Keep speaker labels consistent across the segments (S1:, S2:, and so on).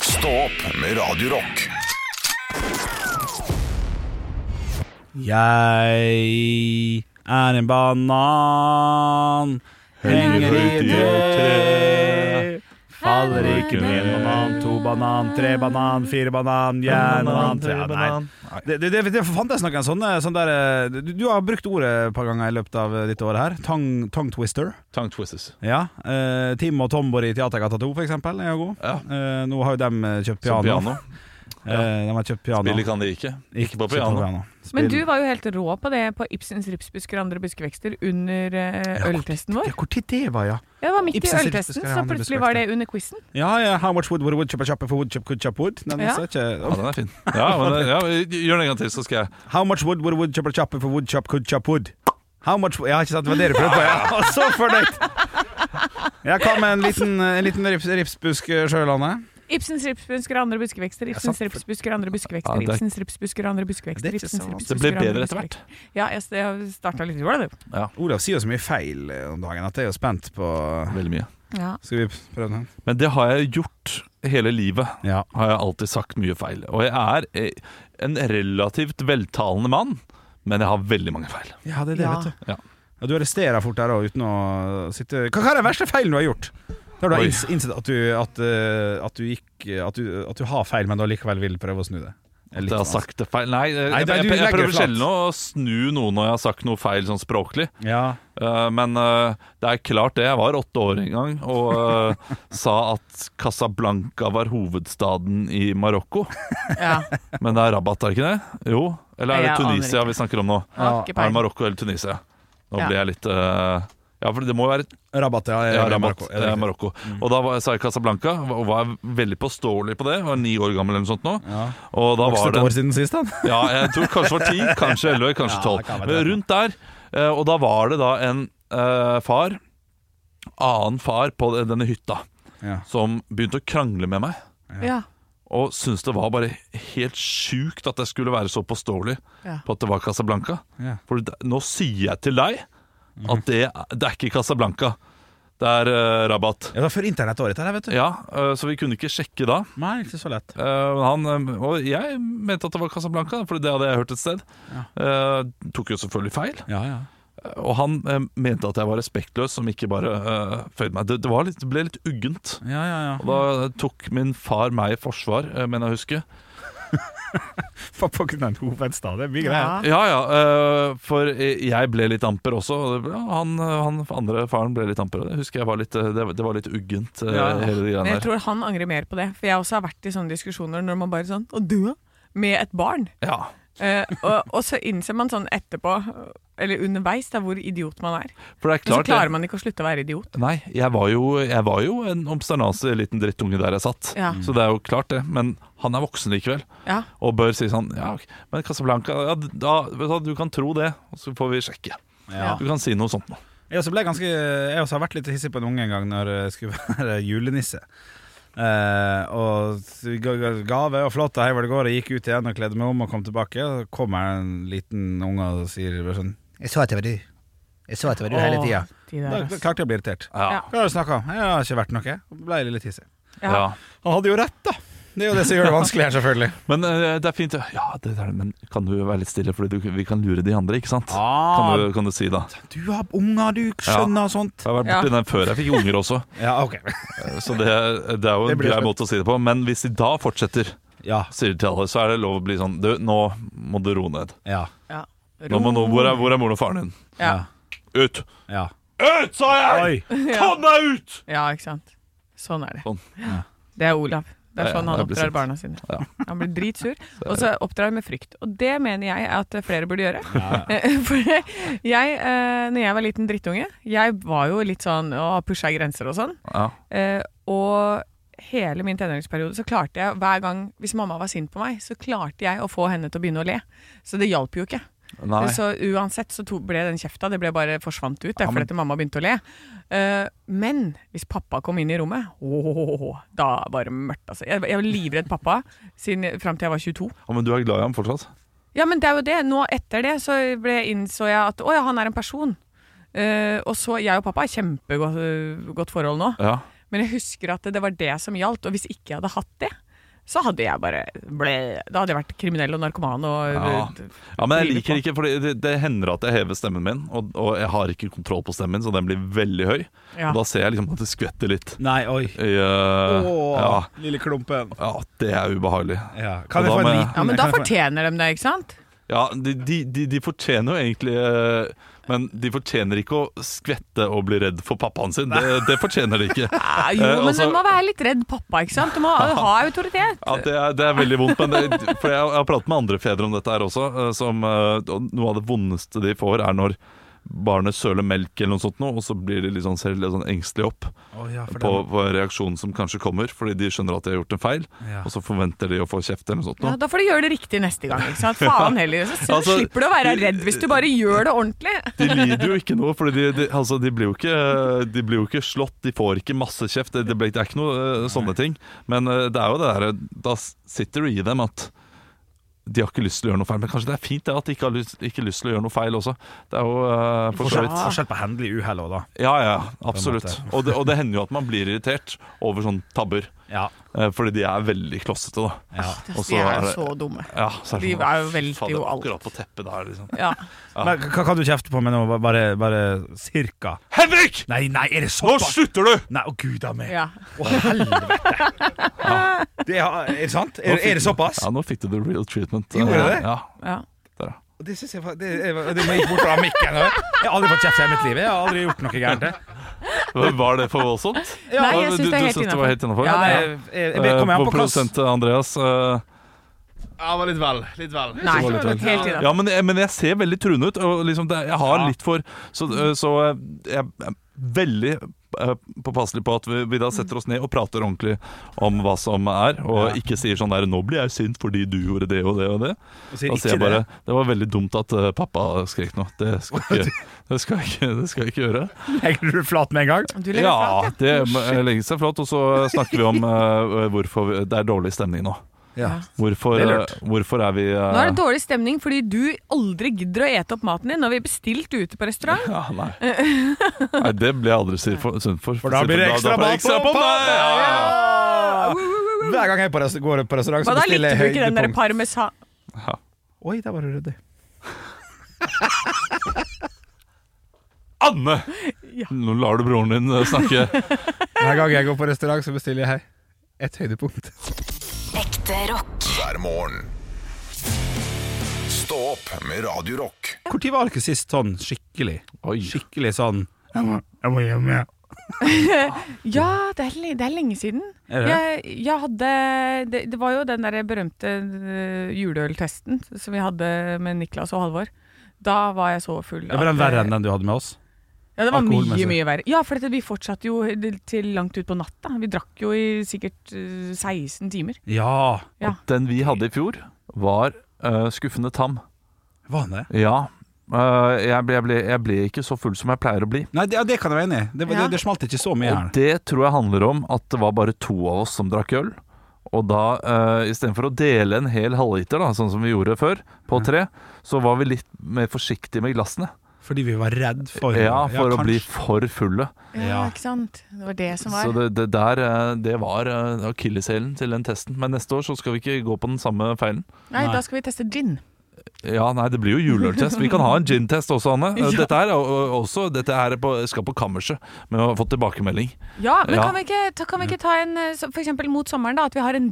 S1: Stå opp med Radio Rock.
S2: Jeg er en banan Henger i
S3: ut i et
S2: tre Faller ikke ned banan, to banan, tre banan, fire banan, jeg er en banan, tre ja, nei. Det, det, det, det fantes noen sånne, sånne der, eh, du, du har brukt ordet et par ganger i løpet av eh, ditt år her. Tongue, tongue twister.
S3: Tongue twisters.
S2: Ja, eh, Tim og Tombor i Teatergata 2 for eksempel er jo god.
S3: Ja.
S2: Eh, nå har jo dem eh, kjøpt
S3: Som
S2: piano.
S3: piano.
S2: Eh, de har kjøpt piano.
S3: Billig kan de ikke. Ikke på piano.
S4: Men du var jo helt rå på det på Ibsens ripsbusker og andre buskevekster under eh,
S2: Ja,
S4: øltesten vår.
S2: Ja, hvor tid det var, ja.
S4: Ja, det var midt i
S2: Ibsens
S4: øltesten,
S2: ripsbusker og
S4: så
S2: andre
S4: plutselig var det under quizen.
S2: Ja, ja, How much wood would a woodchopper chopper for woodchop could chop wood? Den
S4: Ja.
S2: sa
S3: Ja,
S2: ikke
S3: den er fin. Ja, men, ja, gjør den en gang til, så skal jeg
S2: How much wood would a woodchopper chopper for woodchop could chop wood? How much Ja, ikke sant, det var det du prøvde på? Ja, Og så fornøyd! Jeg kom med en liten, en liten rips, ripsbusk eh, Sjølandet.
S4: Ibsens ripsbusker og andre buskevekster, Ibsens ripsbusker og andre
S3: Ja,
S4: buskevekster,
S3: det er-
S4: Ibsens ripsbusker og andre
S2: Det
S4: buskevekster
S2: er ikke
S4: Ibsens
S2: så vanskelig.
S3: Det
S4: ripsbusker
S3: ble
S4: og andre
S3: bedre etter hvert.
S4: buskevekster. Ja, jeg s- starta litt i går, du.
S2: Olav sier jo så mye feil eh, om dagen at jeg er jo spent på
S3: Veldig mye.
S4: Ja.
S2: Skal vi prøve den?
S3: Men det har jeg gjort hele livet.
S2: Ja.
S3: Har jeg alltid sagt mye feil. Og jeg er eh, en relativt veltalende mann, men jeg har veldig mange feil.
S2: ja, det er det,
S4: Ja.
S2: vet du.
S3: Ja.
S2: Ja, du arresterer fort der òg, uten å sitte Hva hva er den verste feilen du har gjort? Der du har
S3: Oi.
S2: inns- innsett at du, at, eh, at, du gikk, at, du, at du har feil, men du allikevel vil prøve å snu det. Det er
S3: At jeg
S2: litt
S3: har
S2: vanskelig.
S3: sagt det feil. Nei, eh,
S2: Nei,
S3: jeg,
S2: det-
S3: jeg,
S2: du
S3: jeg, jeg
S2: legger det
S3: prøver
S2: flat.
S3: sjelden å snu noe når jeg har sagt noe feil sånn språklig.
S2: Ja.
S3: Eh, men eh, det er klart det. Jeg var åtte år en gang og eh, sa at Casablanca var hovedstaden i Marokko.
S4: ja.
S3: Men det er Rabat, er det ikke det? Jo. Eller er
S4: Jeg
S3: det
S4: aner
S3: Tunisia
S4: ikke.
S3: vi snakker om nå?
S4: Har ikke
S3: Er det
S4: peiling.
S3: Marokko eller Tunisia? Nå
S4: Ja.
S3: ble jeg litt eh, Ja, for det må jo være
S2: Rabat, ja.
S3: ja,
S2: eller
S3: Rabat,
S2: Marokko, er
S3: eh,
S2: det riktig? Mm.
S3: Marokko. Og da var, sa jeg Casablanca, og var veldig påståelig på det. Var ni år gammel eller noe sånt nå.
S2: Ja.
S3: Og da
S2: Vokste
S3: var
S2: et
S3: det
S2: år siden sist, han.
S3: Ja, jeg tror kanskje det var ti, kanskje elleve, kanskje
S2: Ja,
S3: tolv.
S2: det kan være
S3: Men
S2: det.
S3: rundt der. eh, Og da var det da en eh, far, annen far på den- denne hytta,
S2: Ja.
S3: som begynte å krangle med meg.
S4: Ja.
S3: Og syntes det var bare helt sjukt at jeg skulle være så påståelig
S4: Ja.
S3: på at det var Casablanca.
S2: Ja.
S3: For d- nå sier jeg til deg
S2: Mhm.
S3: at det, det er ikke Casablanca. Det er eh, Rabat.
S2: Ja, det var før internettåret, dette, her, vet du.
S3: Ja, eh, så vi kunne ikke sjekke da.
S2: Nei, ikke så lett.
S3: Eh, men han, eh, og jeg mente at det var Casablanca, for det hadde jeg hørt et sted. Eh, tok jo selvfølgelig feil.
S2: Ja, ja.
S3: Og han eh, mente at jeg var respektløs som ikke bare eh, føyde meg. Det, det, var litt, det ble litt uggent.
S2: ja, ja, ja.
S3: Og da eh, tok min far meg i forsvar, eh, mener jeg å huske.
S2: For på grunn av en hovedstad, det er mye
S4: Ja.
S2: greier.
S3: Ja ja, eh, for jeg ble litt amper også. Og det ble- ja, han, eh, han andre faren ble litt amper, og det husker jeg var litt, eh, det, det var litt uggent, eh,
S2: Ja.
S3: hele de
S4: Men
S3: greiene
S4: jeg
S3: der.
S4: tror han angrer mer på det. For jeg også har vært i sånne diskusjoner når man bare sånn Og du, da? Med et barn.
S3: Ja.
S4: Eh, og, og så innser man sånn etterpå, eller underveis, da, hvor idiot man er.
S3: For det er
S4: Men så
S3: klart
S4: klarer
S3: jeg,
S4: man ikke å slutte å være idiot.
S3: Nei, jeg var jo, jeg var jo en obsternasig liten drittunge der jeg satt.
S4: Ja.
S3: Så det er jo klart, det. Men han er voksen likevel.
S4: Ja.
S3: Og bør si sånn Ja, ok, men Casablanca ja, da, vet du, hva, du kan tro det, og så får vi sjekke.
S2: Ja.
S3: Du kan si noe sånt nå.
S2: Jeg også, ble ganske, jeg også har vært litt hissig på en unge en gang når jeg skulle være julenisse. Eh, og ga- ga- gave og flott, og hei, var det går. Jeg gikk ut igjen og kledde meg om og kom tilbake. Og så kommer en liten unge og sier bare sånn Jeg så at det var du. Jeg så at det var du hele
S4: Åh,
S2: tida.
S4: de der,
S2: Da, da
S4: ass.
S2: klarte jeg å bli irritert.
S3: Ja.
S4: Ja.
S2: Hva har du snakka om? Jeg har ikke vært noe. Og Ble litt hissig.
S3: Ja.
S4: Ja.
S2: Han hadde jo rett, da. Det er jo det som gjør det vanskelig her, selvfølgelig.
S3: Men eh, det er fint. Ja, det er det, men kan du være litt stille, for vi kan lure de andre, ikke sant? Kan du, kan du si da.
S2: Ah, Du har unger, du skjønner sånt.
S3: Jeg har vært borti den før jeg fikk unger også,
S2: Ja, ok.
S3: så det, det er jo
S2: Det
S3: en
S2: blir
S3: grei
S2: fett.
S3: måte å si det på. Men hvis de da fortsetter,
S2: Ja.
S3: sier de til alle, så er det lov å bli sånn Du, nå må du roe ned.
S2: Ja.
S4: Ja.
S3: Nå må, nå, hvor, er, hvor er moren og faren din?
S4: Ja.
S3: Ut!
S2: Ja.
S3: Ut, sa jeg! Kom deg ut!
S4: ja, ikke sant. Sånn er det.
S3: Sånn.
S4: Det er Olav. Det er
S3: Ja, ja,
S4: sånn han
S3: jeg blir
S4: oppdrar
S3: sint.
S4: barna sine.
S3: Ja.
S4: Han blir dritsur, og så oppdrar han med frykt. Og det mener jeg at flere burde gjøre. For jeg, eh, når jeg var liten drittunge, jeg var jo litt sånn og pusha grenser og sånn.
S3: Ja.
S4: Eh, og hele min tenåringsperiode så klarte jeg hver gang Hvis mamma var sint på meg, så klarte jeg å få henne til å begynne å le. Så det hjalp jo ikke.
S3: Nei.
S4: Så uansett så to, ble den kjefta, det ble bare forsvant ut
S3: Ja,
S4: ja,
S3: men-
S4: fordi at mamma begynte å le. Eh, men hvis pappa kom inn i rommet, ååå, da var det mørkt, altså. Jeg, jeg var livredd pappa siden, fram til jeg var 22.
S3: Ja, men du er glad i ham fortsatt?
S4: Ja, men det er jo det. Nå etter det så ble, innså jeg at å ja, han er en person. Eh, og så, Jeg og pappa har kjempegodt øh, godt forhold nå,
S3: Ja.
S4: men jeg husker at det, det var det som gjaldt. Og hvis ikke jeg hadde hatt det, så hadde jeg bare ble, Da hadde jeg vært kriminell og narkoman og
S3: Ja.
S4: d-
S3: Ja, men jeg
S4: driver
S3: liker
S4: på.
S3: ikke, for det, det hender at jeg hever stemmen min, og, og jeg har ikke kontroll på stemmen min, så den blir veldig høy.
S4: ja.
S3: Og da ser jeg liksom at det skvetter litt.
S2: Nei, oi.
S3: I, eh,
S2: Åh,
S3: ja,
S2: lille klumpen.
S3: ja, det er ubehagelig.
S2: Ja. Kan
S3: Og
S2: jeg
S3: da
S2: få en
S3: må jeg-
S2: liten
S4: ja, men da
S2: kan jeg få-
S4: fortjener de det, ikke sant?
S3: Ja, de, de, de, de fortjener jo egentlig eh, Men de fortjener ikke å skvette og bli redd for pappaen sin. Det, det fortjener de ikke.
S4: Ja, Ah, jo,
S3: Eh,
S4: men
S3: altså-
S4: du må være litt redd pappa, ikke sant? Du må ha autoritet.
S3: Ja, det er, det er veldig vondt, men det, for jeg, jeg har pratet med andre fedre om dette her også. eh, Som, eh, og noe av det vondeste de får, er når barnet søler melk eller noe sånt, nå, og så blir de litt sånn, ser litt sånn engstelig opp.
S2: Å, ja, for
S3: på,
S2: den-
S3: på reaksjonen som kanskje kommer, fordi de skjønner at de har gjort en feil,
S2: ja.
S3: og så forventer de å få kjeft eller noe sånt.
S4: Ja,
S3: nå.
S4: da får du gjøre det riktig neste gang. Ikke sant? Faen heller. Så så
S3: Altså,
S4: slipper du å være redd hvis du bare gjør det ordentlig.
S3: De lider jo ikke noe, for de, de, altså, de, blir jo ikke- de blir jo ikke slått, de får ikke masse kjeft, det, det, blir, det er ikke noe eh, sånne ting. Men eh, det er jo det der, da sitter det i dem at de har ikke lyst til å gjøre noe feil, men kanskje det er fint det at de ikke har lyst, ikke lyst til å gjøre noe feil også. Det er jo eh, for så
S2: Forskjell,
S3: vidt.
S4: Ja.
S2: forskjell på hendelig uhell òg, da.
S3: Ja, ja, absolutt.
S2: På en
S3: Og det, og det hender jo at man blir irritert over sånne tabber,
S2: Ja.
S3: eh, fordi de er veldig klossete da.
S2: ja.
S3: Og så
S4: de
S3: er
S4: er jo
S3: det-
S4: så dumme.
S3: Ja, så
S4: De
S3: det sånn,
S4: er jo veldig
S3: fader,
S4: jo alt.
S3: Akkurat på teppet der, liksom.
S4: Ja.
S3: Ja.
S2: Men hva kan du kjefte på med nå? Bare- Bare, bare cirka?
S3: Henrik!
S2: Nei, nei, er det
S3: Nå
S2: såpass?
S3: slutter du!
S2: Nei, å gud a meg.
S4: Ja.
S2: Å, helvete. Det har- er det sant? Er, er det såpass?
S3: Ja, nå fikk du the real treatment.
S2: Gjorde jeg det?
S3: Ja,
S4: Ja.
S3: der, ja.
S2: Det synes jeg fa- det, det må jeg gikk bort fra mikken. nå. Jeg har aldri fått kjeft i hele mitt liv. Jeg har aldri gjort noe gærent. jeg.
S3: Hva- Var det for voldsomt?
S4: Nei, jeg
S3: du,
S4: syns det er
S3: du synes
S4: helt
S3: det var
S4: innafor.
S3: helt innafor?
S4: Ja,
S2: Nei,
S4: ja.
S2: jeg, jeg, jeg Eh, kommer an
S3: Vår
S2: på hva
S3: produsent Andreas eh,
S5: Ja, det var litt vel. Litt vel.
S4: Nei,
S3: var litt vel.
S4: helt innafor.
S3: Ja, men, jeg- men jeg ser veldig truende ut. Og liksom det, jeg har
S2: Ja.
S3: litt for Så, eh, så eh, jeg er veldig eh, påpasselig på at vi, vi da setter oss ned og prater ordentlig om hva som er, og
S2: Ja.
S3: ikke sier sånn der 'Nå blir jeg sint fordi du gjorde det og det og det'.
S2: Og sier
S3: Da
S2: ikke
S3: sier jeg
S2: det.
S3: bare Det var veldig dumt at eh, pappa skrek nå. Det skal jeg ikke, det skal jeg ikke, det skal jeg ikke gjøre.
S2: Legger du flat med en gang?
S4: Du legger
S3: Ja,
S4: flat,
S2: Oh,
S3: det må- legger seg flott. Og så snakker vi om eh, hvorfor vi, det er dårlig stemning nå.
S4: ja.
S3: Hvorfor,
S2: Det er
S3: er,
S2: lurt.
S3: hvorfor er vi eh,
S4: Nå er det dårlig stemning fordi du aldri gidder å ete opp maten din når vi er bestilt ute på restaurant.
S3: ja, nei. nei, det blir jeg aldri sur for. synd For,
S2: For da blir det ekstra
S3: blir det
S2: mat
S3: meg!
S2: på pappa!
S3: Ja, ja, ja.
S2: Hver gang jeg på rest- går på restaurant, så
S4: Men da
S2: bestiller
S4: likte
S2: jeg
S4: du ikke den der
S2: høydepunkt.
S4: parmesan...
S2: Oi, der var du ryddig.
S3: Anne!
S4: Ja.
S3: Nå lar du broren din eh, snakke.
S2: Hver gang jeg går på restaurant, så bestiller jeg et høydepunkt.
S6: Ekte rock.
S1: hver morgen. Stå opp med Radio Rock.
S2: Når var dere sist sånn skikkelig?
S3: Oi.
S2: Skikkelig sånn Jeg må, jeg må hjem, jeg.
S4: Ja, det er, le- det er lenge siden.
S2: Er det?
S4: Jeg, jeg hadde det, det var jo den der berømte øh, juleøltesten som vi hadde med Niklas og Halvor. Da var jeg så full.
S2: Det var den
S4: at, eh,
S2: verre enn den du hadde med oss.
S4: Ja, det var mye,
S2: alkoholmessig.
S4: mye verre. Ja, for dette, vi fortsatte jo til langt ut på natta. Vi drakk jo i sikkert øh, 16 timer.
S2: Ja,
S4: Ja.
S3: Den vi hadde i fjor, var eh, skuffende tam.
S2: var han det?
S3: Ja. Eh, jeg, ble, jeg, ble, jeg ble ikke så full som jeg pleier å bli.
S2: Nei, det, ja, det kan jeg være enig i. Det, var-
S4: Ja.
S2: det, det smalt ikke så mye
S3: Og
S2: her.
S3: det tror jeg handler om at det var bare to av oss som drakk øl. Og da, eh, istedenfor å dele en hel halvliter, da, sånn som vi gjorde før, på tre, så var vi litt mer forsiktige med glassene.
S2: Fordi vi var redd for
S3: Ja, for å
S2: kanskje.
S3: bli for fulle.
S4: Ja,
S2: Ja.
S4: ikke sant? Det var det som
S3: Så
S4: var.
S3: det, det der eh, det var eh, akilleshælen til den testen. Men neste år så skal vi ikke gå på den samme feilen.
S4: Nei,
S2: Nei.
S4: da skal vi teste gin.
S3: Ja, nei, det blir jo juleøltest. Vi kan ha en gin-test også, Anne. Eh, Dette her, er o- også, dette her er på, skal på kammerset, men vi har fått tilbakemelding.
S4: Ja, men
S3: Ja.
S4: Kan, vi ikke, ta- kan vi ikke ta en øh, så- for eksempel mot sommeren, da? At vi har en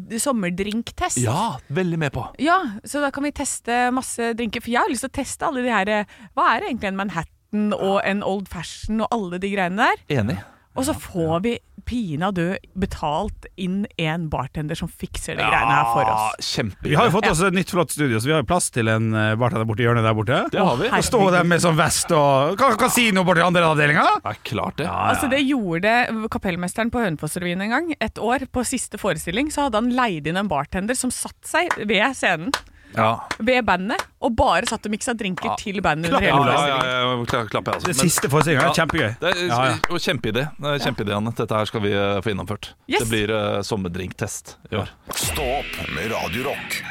S4: sommerdrinktest?
S3: Ja, veldig med på.
S4: Ja, så da kan vi teste masse drinker. For jeg har lyst til å teste alle de her eh, Hva er egentlig en Manhattan og en Old Fashion og alle de greiene der?
S3: Enig.
S4: Og så får vi pinadø betalt inn en bartender som fikser de greiene her for oss.
S2: Vi har
S3: Kjempeidé.
S2: jo fått oss et nytt flott studio, så vi har jo plass til en eh, bartender borti hjørnet der borte.
S3: Det har vi.
S4: Herregud.
S2: Stå der med sånn vest og Ka- kasino borti andre avdelinga.
S3: Ja, klart det.
S4: Altså Det gjorde kapellmesteren på Hønefossrevyen en gang. Et år på siste forestilling så hadde han leid inn en bartender som satt seg ved scenen,
S3: Ja.
S4: ved bandet, og bare satt og miksa drinker til bandet under hele
S3: Ja,
S4: forestillingen.
S3: ja, ja, kla- klapper jeg, altså.
S2: Det
S3: Men-
S2: siste forestillinga
S3: Ja.
S2: er kjempegøy.
S3: Det er,
S2: Ja, ja.
S3: Og kjempeidé. Det er Kjempeidé, Anne. Dette her skal vi eh, få gjennomført.
S4: Yes.
S3: Det blir eh, sommerdrinktest i år.
S1: Stå opp med Radio Rock.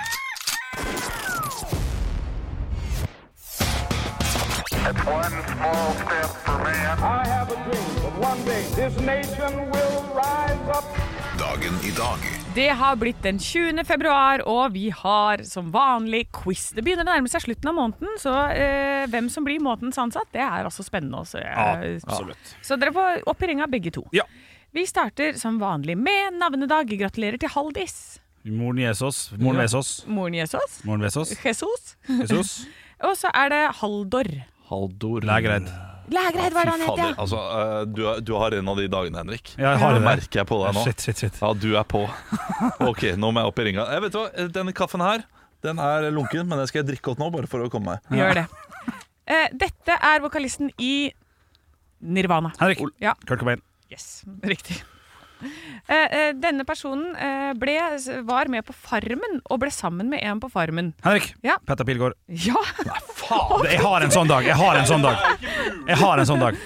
S7: I have a dream that one day this nation will rise up
S1: Dagen i dag
S4: Det har blitt den 20. februar, og vi har som vanlig quiz. Det begynner å nærme seg slutten av måneden, så eh, hvem som blir månedens ansatt, det er altså spennende. Også. Jeg- Så dere får opp i ringa begge to.
S2: Ja.
S4: Vi starter som vanlig med navnedag. Gratulerer til Haldis.
S2: Moren Jesus. Moren Vesos.
S4: Moren Jesus.
S2: Moren Vesos.
S4: Jesus.
S2: Jesus.
S4: Og så er det Haldor.
S3: Haldor
S2: Lægeredd.
S4: Lægreid, hva er det han heter? ja?
S3: altså, eh, du, er, du har en av de dagene, Henrik.
S2: Ja, jeg har
S3: det
S2: det.
S3: merker jeg på deg nå.
S2: Shit, shit, shit.
S3: Ja, du er på. Ok, nå må jeg opp i ringa. Jeg vet du hva, eh, Denne kaffen her den er lunken, men den skal jeg drikke opp nå, bare for å komme meg.
S4: Gjør det. Eh, dette er vokalisten i Nirvana.
S2: Henrik.
S4: Ja.
S2: Kurt Cobain.
S4: Yes, riktig. Eh, eh, denne personen eh, ble, var med på Farmen og ble sammen med en på Farmen.
S2: Henrik.
S4: Ja.
S2: Petter Pilgaard.
S4: Ja!
S2: Jeg har en sånn dag. Jeg har en sånn dag. Jeg har en sånn dag.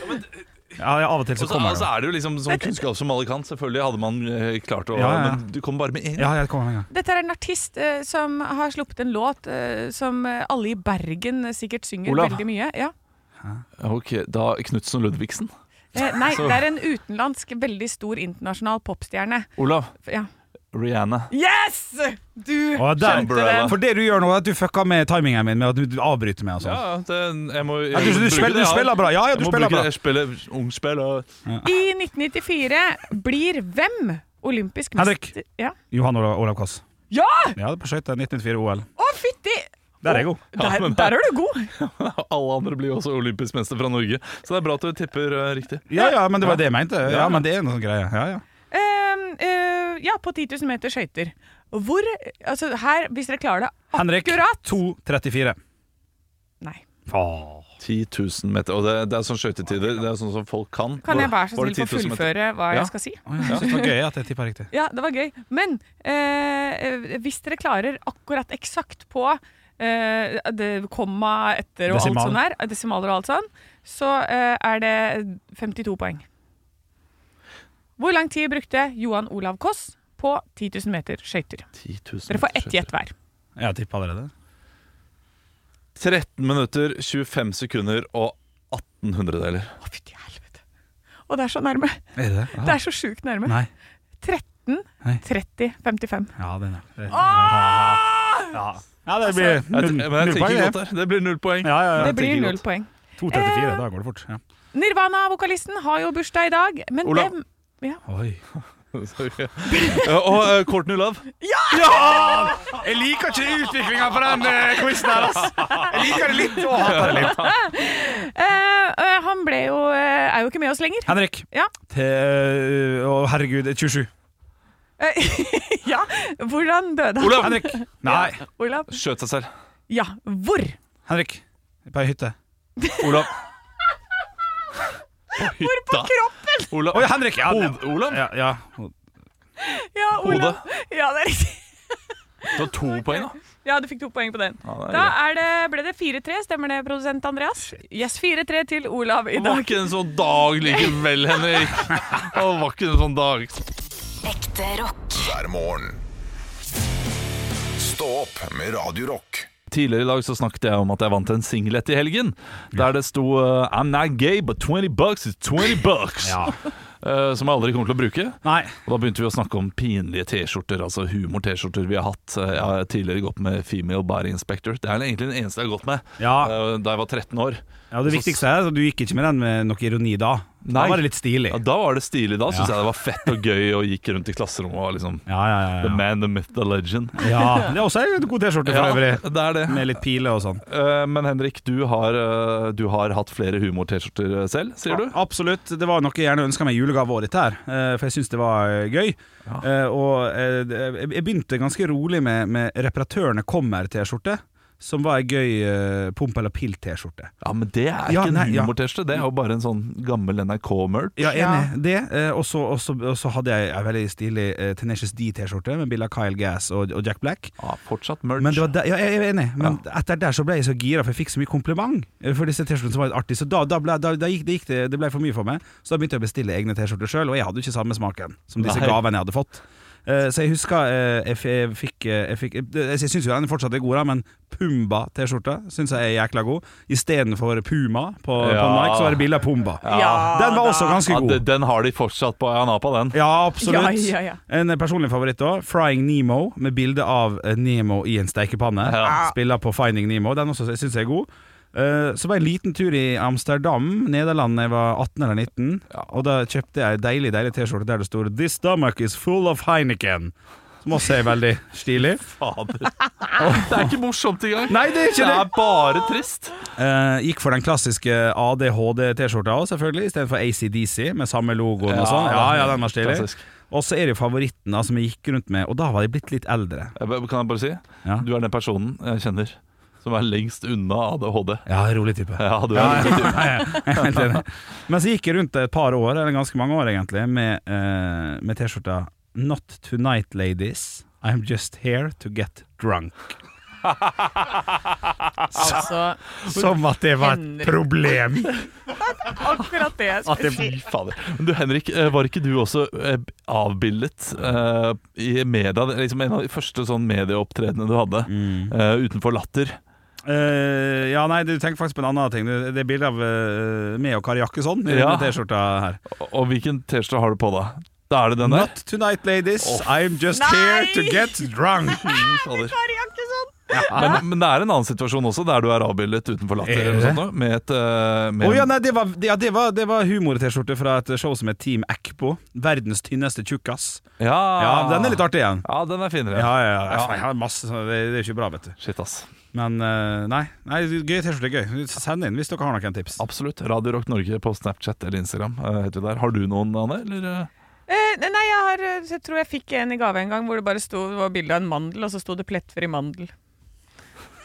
S2: Ja, ja, av og til
S3: Og
S2: så
S3: så
S2: kommer
S3: altså,
S2: jeg.
S3: er det jo liksom sånn kunnskap som alle kan. Selvfølgelig hadde man eh, klart å
S2: Ja, ja, ja.
S3: Men du kom bare med én.
S2: Ja, jeg kommer med en gang.
S4: Dette er en artist eh, som har sluppet en låt eh, som eh, alle i Bergen sikkert synger
S3: Olav.
S4: veldig mye. Ja.
S3: Ok, da Knutsen og Ludvigsen.
S4: Eh, nei,
S3: Så-
S4: det er en utenlandsk, veldig stor internasjonal popstjerne.
S3: Olav.
S4: Ja.
S3: Rihanna.
S4: Yes! Du
S2: Å, der.
S4: skjønte det.
S2: For det du gjør nå, er at du fucka med timingen min med at du avbryter meg og
S3: Ja,
S2: sånn.
S3: ja, det, jeg må, jeg
S2: Ja, du,
S3: må
S2: du,
S3: bruke
S2: spiller,
S3: det,
S2: du
S3: ja.
S2: spiller bra. Ja, ja,
S3: Jeg
S2: du
S3: må
S2: spiller
S3: bruke
S2: bra.
S3: det. Jeg spiller ungspill og
S4: I 1994 blir hvem olympisk
S2: Henrik.
S4: mester? Ja!
S2: Johan Olav, Olav Koss.
S4: ja!
S2: Ja, på skøyter 1994 OL.
S4: Å, fytti!
S2: Der er jeg god.
S3: Ja,
S4: Der,
S3: men-
S4: der er du god.
S3: Alle andre blir jo også olympisk mester fra Norge, så det er bra at du tipper eh, riktig.
S2: Ja, ja, men det var det jeg mente. Ja, men det er en sånn greie. Ja, ja.
S4: Ehm, eh, ja, på 10 000 meter skøyter. Hvor Altså, her, hvis dere klarer det
S2: Henrik
S4: akkurat
S2: 2.34.
S4: Nei.
S3: 10 000 meter. Og det, det er sånn skøytetider. Det er sånn som folk kan.
S4: Kan jeg være så
S3: Var det
S4: snill få
S3: 10 000 meter?
S4: fullføre hva
S3: Ja.
S4: jeg skal si?
S2: Å, ja, jeg synes det var gøy at jeg tippa riktig.
S4: Ja, det var gøy. Men eh, hvis dere klarer akkurat eksakt på eh, det komma etter og
S2: Desimal.
S4: alt sånn her, desimaler og alt sånn, så eh, er det 52 poeng. Hvor lang tid brukte Johan Olav Koss på 10 000 meter skøyter?
S3: 10 000
S4: Dere får ett
S3: meter skøyter.
S4: gjett hver.
S2: Jeg har tippa allerede.
S3: 13 minutter, 25 sekunder og 18 hundredeler.
S4: Å, fytti helvete. Og det er så nærme.
S2: Er det det? Ja.
S4: Det er så sjukt nærme.
S2: Nei.
S4: 13,
S2: Nei.
S4: 30, 55.
S2: Ja, den er det- ja. Altså, ja, det blir
S3: Jeg,
S2: null,
S3: men jeg
S2: null
S3: tenker
S2: poeng,
S3: godt
S2: det.
S3: her. Det blir null poeng.
S2: Ja, ja, ja.
S4: Det blir
S3: tenker
S4: null
S3: godt.
S4: poeng.
S2: 2.34, da går det fort. Ja.
S4: Nirvana-vokalisten har jo bursdag i dag, men
S3: Olav.
S4: hvem
S2: Oi.
S3: Sorry. Ja, Og uh, Courtney Love.
S2: Jeg liker ikke utviklinga på den eh, quizen her, Jeg liker det litt og hater det litt.
S4: Eh, eh, Han ble jo eh, Er jo ikke med oss lenger.
S2: Henrik.
S4: Ja.
S2: Til, å, herregud, 27.
S4: Eh, ja, hvordan døde han?
S3: Olav!
S2: Henrik. Nei.
S4: Olav?
S3: Skjøt seg selv.
S4: Ja, hvor?
S2: Henrik. På ei hytte.
S3: Olav. På hytta.
S4: Kroppen!
S3: Olav.
S2: Å ja, Henrik! Ja, det-
S3: Hod- Olav.
S2: ja, ja.
S4: Ja, Olav. Ja, det er riktig.
S3: Du har to poeng, da.
S4: Ja, du fikk to poeng på den.
S3: Ja, det er
S4: Da er det, ble det 4-3, stemmer det, produsent Andreas? Yes, 4-3 til Olav i
S3: Det var
S4: dag.
S3: ikke en sånn dag likevel, Henrik. Det var ikke en sånn dag.
S6: Ekte rock.
S1: hver morgen. Stå opp med Radio Rock.
S3: Tidligere i dag så snakket jeg om at jeg vant en singlet i helgen. Der det sto eh, I'm not gay, but 20 bucks is 20 bucks.
S2: ja.
S3: Eh, som jeg aldri kommer til å bruke.
S2: Nei.
S3: Og da begynte vi å snakke om pinlige T-skjorter, altså humor-T-skjorter vi har hatt. Eh, Jeg har tidligere gått med Female Body Inspector. Det er egentlig den eneste jeg har gått med
S2: Ja.
S3: eh, da jeg var 13 år.
S2: ja, det viktigste er at du gikk ikke med den med noe ironi da.
S3: Nei.
S2: Da var det litt stilig.
S3: Ja, da var det stilig. Da syntes
S2: Ja.
S3: jeg det var fett og gøy og gikk rundt i klasserommet og var liksom
S2: Ja, ja, ja,
S3: The
S2: ja.
S3: man, the myth, the legend.
S2: ja. Det er også en god T-skjorte for øvrig.
S3: det er det.
S2: Med litt piler og sånn.
S3: Eh, Men Henrik, du har, eh, du har hatt flere humor-T-skjorter eh, selv, sier du?
S2: Absolutt. Det var noe jeg gjerne ønska meg i julegave også, dette her. eh, For jeg syns det var eh, gøy. Eh, Og eh, jeg jeg begynte ganske rolig med, med Reparatørene kommer-T-skjorte. Som var ei gøy eh, pomp eller pill-T-skjorte.
S3: Ja, men det er
S2: Ja,
S3: ikke
S2: nei,
S3: en
S2: ja.
S3: humor-T-skjorte. Det er jo bare en sånn gammel NRK-merch.
S2: Ja, enig. Det. eh, Og så- og så og så hadde jeg ei veldig stilig eh, Tenacious D-T-skjorte med bilde av Kyle Gass og, og Jack Black.
S3: Ja, fortsatt merch.
S2: Men det var der, ja, jeg er enig, men etter der så ble jeg så gira, for jeg fikk så mye kompliment eh, for disse T-skjortene som var litt artige. Så da, da ble, da, da gikk, det, gikk det, det ble for mye for meg, så da begynte jeg å bestille egne T-skjorter sjøl, og jeg hadde jo ikke samme smaken som disse
S3: Nei.
S2: gavene jeg hadde fått. Eh, så jeg husker eh, jeg, f- jeg fikk, eh, jeg, fikk jeg, jeg syns jo den fortsatt er god, da, men Pumba-T-skjorte syns jeg er jækla god. Istedenfor Puma på, på
S3: Ja.
S2: Nike, så var det bilde av Pumba.
S4: Ja
S2: den var
S4: da.
S2: også ganske
S3: Ja,
S2: god.
S3: de- den har de fortsatt på Anapa, den.
S2: Ja, absolutt.
S4: Ja, ja, ja.
S2: En personlig favoritt òg. 'Frying Nemo', med bilde av eh, Nemo i en steikepanne.
S3: Ja.
S2: Spiller på 'Finding Nemo'. Den også syns jeg er god. Eh, så var jeg en liten tur i Amsterdam, Nederland, da jeg var 18 eller 19. Og da kjøpte jeg ei deilig deilig T-skjorte der det stod 'This stomach is full of Heineken'. Som også er veldig stilig.
S3: Fader. Det er ikke morsomt engang.
S2: Nei, det er
S3: Det
S2: ikke det!
S3: er bare trist.
S2: Eh, gikk for den klassiske ADHD-T-skjorta òg, selvfølgelig, istedenfor ACDC med samme logoen og
S3: Ja,
S2: sånn. Ja, ja, den var stilig.
S3: Klassisk.
S2: Og så er det jo favoritten da, som jeg gikk rundt med, og da var jeg blitt litt eldre.
S3: Jeg bare- Eh, Kan jeg bare si?
S2: Ja.
S3: Du er den personen jeg kjenner som er lengst unna ADHD.
S2: Ja, rolig type.
S3: Ja, du er
S2: Helt enig. Men så gikk jeg rundt et par år, eller ganske mange år egentlig, med, eh, med T-skjorta Not tonight, ladies. I'm just here to get drunk.
S4: Altså,
S2: Som at det var et
S4: Henrik.
S2: problem.
S4: akkurat det jeg skulle si.
S3: Fy fader. Men du Henrik, eh, var ikke du også eh, avbildet eh, i media? Det er Liksom en av de første sånn medieopptredenene du hadde
S2: Mm.
S3: eh, utenfor Latter.
S2: Eh, ja, nei, du tenker faktisk på en annen ting. Det, det er bilde av eh, meg og Kari Jakkesson i
S3: Ja.
S2: denne T-skjorta her.
S3: Og- Og hvilken T-skjorte har du på da? Da er det den der?
S2: Not tonight, ladies. I'm just
S4: Nei!
S2: here to get drunk.
S3: Fy fader.
S4: Kari Jakkesson!
S3: Men, men det er en annen situasjon også, der du er avbildet utenfor Latter.
S2: Er
S3: Eller noe
S2: det?
S3: sånt, nå, med et, eh, med
S2: Å ja,
S3: en-
S2: nei, det var, det- ja, det var, det var humor-T-skjorte fra et show som het Team Ekpo. Verdens tynneste tjukkas.
S3: ja.
S2: Ja, den er litt artig igjen.
S3: Ja, den er finere.
S2: Ja, ja, ja. Jeg har masse sånne, det, det er ikke bra, vet du.
S3: Shit, ass.
S2: Men eh, nei, nei gøy T-skjorte er gøy. Send inn hvis dere har noen tips.
S3: Absolutt. Radio Rock Norge på Snapchat eller Instagram. eh, heter vi der. Har du noen, Anne? Eller? eh?
S4: Eh, nei, jeg, har, eh, jeg tror jeg fikk en i gave en gang hvor det bare sto, det var bilde av en mandel, og så sto det 'plettfri mandel'.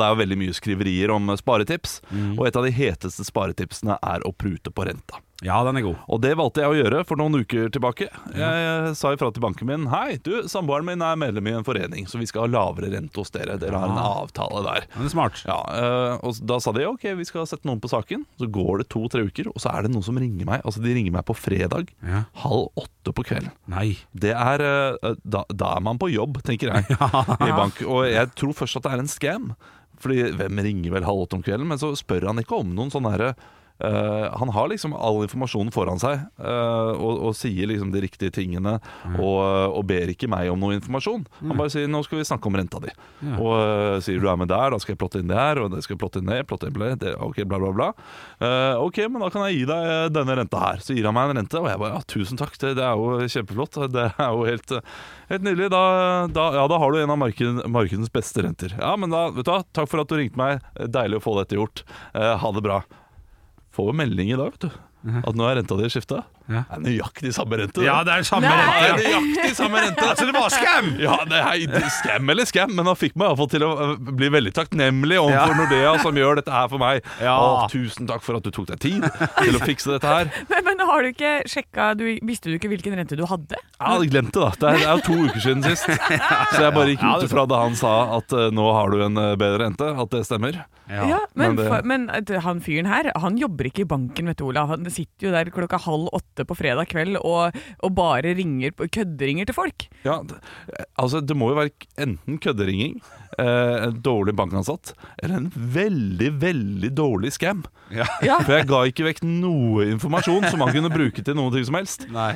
S3: Det er jo veldig mye skriverier om eh, sparetips,
S2: Mm. Mhm.
S3: og et av de heteste sparetipsene er å prute på renta.
S2: Ja, den er god.
S3: Og det valgte jeg å gjøre for noen uker tilbake. Jeg eh, sa ifra til banken min Hei, du, samboeren min er medlem i en forening, så vi skal ha lavere rente hos dere. Dere har en avtale der.
S2: Den er smart.
S3: Ja, eh, og Da sa de ok, vi skal sette noen på saken. Så går det to-tre uker, og så er det noen som ringer meg. Altså De ringer meg på fredag
S2: Ja.
S3: halv åtte på kvelden.
S2: Nei.
S3: Det er, eh, da, da er man på jobb, tenker jeg, i bank. Og jeg tror først at det er en scam. Fordi hvem ringer vel halv åtte om kvelden? Men så spør han ikke om noen sånne herre eh, han har liksom all informasjonen foran seg eh, og, og sier liksom de riktige tingene og, og ber ikke meg om noe informasjon. Han bare sier 'nå skal vi snakke om renta di'. Og eh, sier 'du er med der, da skal jeg plotte inn det her', og det skal jeg plotte inn det, plotte inn det, det ok, bla, bla, bla. Eh, ok, men da kan jeg gi deg eh, denne renta her. Så gir han meg en rente, og jeg bare ja, tusen takk, det, det er jo kjempeflott. Det er jo helt, eh, helt nydelig. Da, da, ja, da har du en av marked, markedens beste renter. Ja, men da, vet du hva, takk for at du ringte meg. Eh, Deilig å få dette gjort. Eh, ha det bra. Får jo melding i dag, vet du. At nå er renta di skifta.
S2: Mhm. Ja.
S3: Det er nøyaktig samme rente.
S2: Ja,
S3: det.
S2: det er samme
S4: Nei.
S2: rett.
S3: Det er nøyaktig samme rente.
S2: Altså, det var skam!
S3: Ja, det er det er skam eller skam, men han fikk meg i hvert fall til å øh, bli veldig takknemlig overfor Nordea, som gjør dette her for meg.
S2: Ja.
S3: Å, tusen takk for at du tok deg tid til å fikse dette her.
S4: Men, men har du ikke sjekka du, Visste du ikke hvilken rente du hadde?
S3: Jeg hadde glemt det, da. Det er, det er jo to uker siden sist. Så jeg bare gikk
S2: Ja,
S3: ut
S2: det er
S3: ifra da han sa at øh, nå har du en øh, bedre rente, at det stemmer.
S4: Ja,
S3: men
S4: men,
S3: det-
S4: fa- men at han fyren her, han jobber ikke i banken, vet du, Olav. Han sitter jo der klokka halv åtte på fredag kveld og, og bare ringer, på- kødderinger til folk.
S3: Ja, d- altså Det må jo være k- enten kødderinging, eh, en dårlig bankansatt, eller en veldig, veldig dårlig scam.
S4: Ja.
S3: For jeg ga ikke vekk noe informasjon som han kunne bruke til noen ting som helst.
S2: Nei.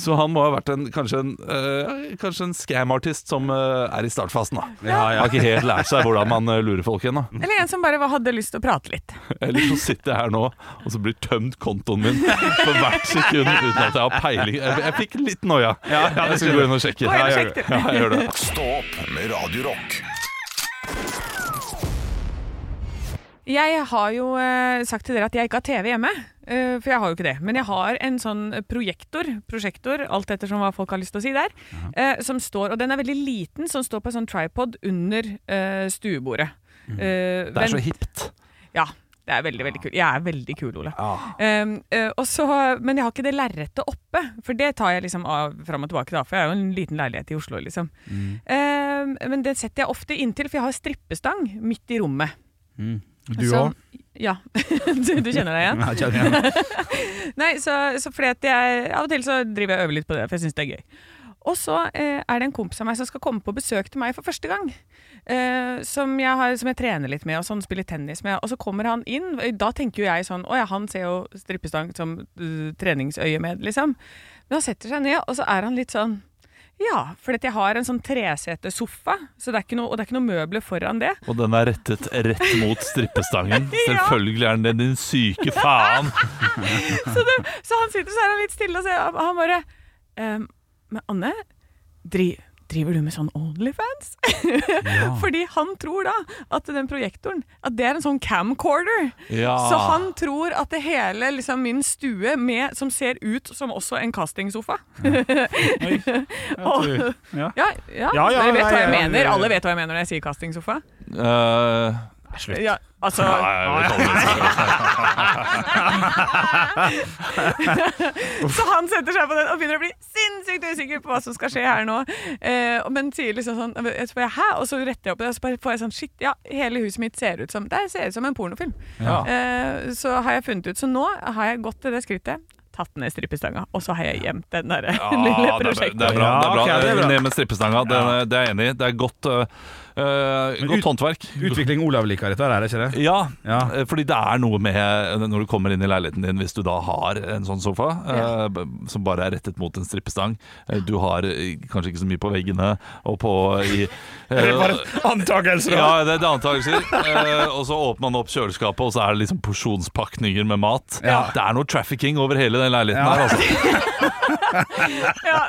S3: Så han må ha vært en, kanskje en, eh, kanskje en scam-artist som eh, er i startfasen. da
S2: Ja, ja.
S3: Har ikke helt lært seg hvordan man eh, lurer folk ennå.
S4: Eller en som bare hadde lyst til å prate litt.
S3: Eller så sitter jeg her nå og så blir tømt kontoen min for hvert sekund uten at jeg har peiling. Jeg, jeg fikk litt noia. jeg skal gå inn og sjekke.
S4: Gå inn og
S3: Ja, jeg
S4: sjekk
S3: gjør det. Ja, jeg gjør det.
S1: Stå opp med Radio Rock.
S4: Jeg har jo eh, sagt til dere at jeg ikke har TV hjemme, eh, for jeg har jo ikke det. Men jeg har en sånn projektor, prosjektor, alt ettersom hva folk har lyst til å si der, eh, som står, og den er veldig liten, som står på en sånn tripod under eh, stuebordet. Eh,
S3: Mm. Det er så
S4: vent-
S3: hipt.
S4: Ja, det er veldig, veldig kul. Jeg er veldig kul, Ole. Um, eh, og så, men jeg har ikke det lerretet oppe, for det tar jeg liksom av fram og tilbake, da, for jeg har jo en liten leilighet i Oslo, liksom.
S3: Mm.
S4: Um, men det setter jeg ofte inntil, for jeg har strippestang midt i rommet.
S2: Du
S4: Så-
S2: òg?
S4: Ja. du, du kjenner deg igjen? Nei, så, så fordi at jeg Av og til så driver jeg og øver litt på det, for jeg syns det er gøy. Og så eh, er det en kompis av meg som skal komme på besøk til meg for første gang. Eh, som, jeg har, som jeg trener litt med, og sånn spiller tennis med. Og så kommer han inn. Da tenker jo jeg sånn Å ja, han ser jo strippestang som uh, treningsøye med, liksom. Men han setter seg ned, og så er han litt sånn Ja, for jeg har en sånn tresetesofa, så det er ikke noe, og det er ikke noe møbler foran det.
S3: Og den er rettet rett mot strippestangen. Selvfølgelig er den det, din syke faen.
S4: så, det, så han sitter så er han litt stille og ser og han bare ehm, Men Anne, dri, driver du med sånn Onlyfans? Fordi han tror da at den projektoren At det er en sånn camcorder.
S3: Ja.
S4: Så han tror at det hele liksom, min stue med, som ser ut som også en castingsofa Og-
S2: Ja.
S4: Ja, ja,
S2: Ja, ja,
S4: dere vet hva jeg
S2: ja, ja,
S4: mener.
S2: ja.
S4: Alle vet hva jeg mener når jeg sier castingsofa.
S3: Eh,
S4: Ja, altså,
S3: nei, jeg vet aldri.
S4: Så han setter seg på den og begynner å bli sinnssykt usikker på hva som skal skje her nå. Eh, men sier liksom sånn jeg spør, Hæ? Og så retter jeg opp det, og så bare får jeg sånn Shit, ja, hele huset mitt ser ut som Det ser ut som en pornofilm.
S3: Ja.
S4: Eh, så har jeg funnet ut Så nå har jeg gått til det skrittet, tatt ned strippestanga, og så har jeg gjemt den derre lille
S3: Ja, det er-
S4: prosjektet.
S3: Det er bra.
S2: Ja,
S3: Det er bra.
S2: ok, det er bra.
S3: Ned med strippestanga. Det, er- det er jeg enig i. Det er godt, eh, eh,
S2: Men ut-
S3: godt håndverk.
S2: Utvikling Olav liker dette, her, er det ikke det?
S3: Ja,
S2: Ja.
S3: eh, fordi det er noe med eh, når du kommer inn i leiligheten din, hvis du da har en sånn sofa eh, b- som bare er rettet mot en strippestang. eh, Du har eh, kanskje ikke så mye på veggene og på i eh,
S2: Antakelser! Ja.
S3: ja, det er det antakelser. Eh, og så åpner man opp kjøleskapet, og så er det liksom porsjonspakninger med mat.
S2: Ja.
S3: Det er noe trafficking over hele den leiligheten
S2: Ja.
S3: her, altså.
S4: Ja,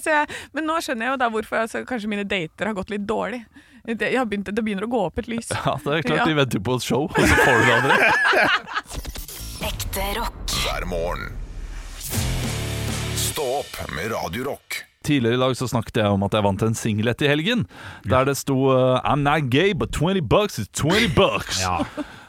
S4: så jeg, men nå skjønner jeg jo da hvorfor altså, kanskje mine dater har gått litt dårlig. Det, jeg har begynt, det begynner å gå opp et lys.
S3: Ja, det er klart
S4: Ja.
S3: de venter på et show, og så får du det andre.
S6: Ekte rock.
S1: hver morgen. Stå opp med Radio Rock.
S3: Tidligere i dag så snakket jeg om at jeg vant en singlet i helgen. Der det sto eh, I'm not gay, but 20 bucks is 20 bucks.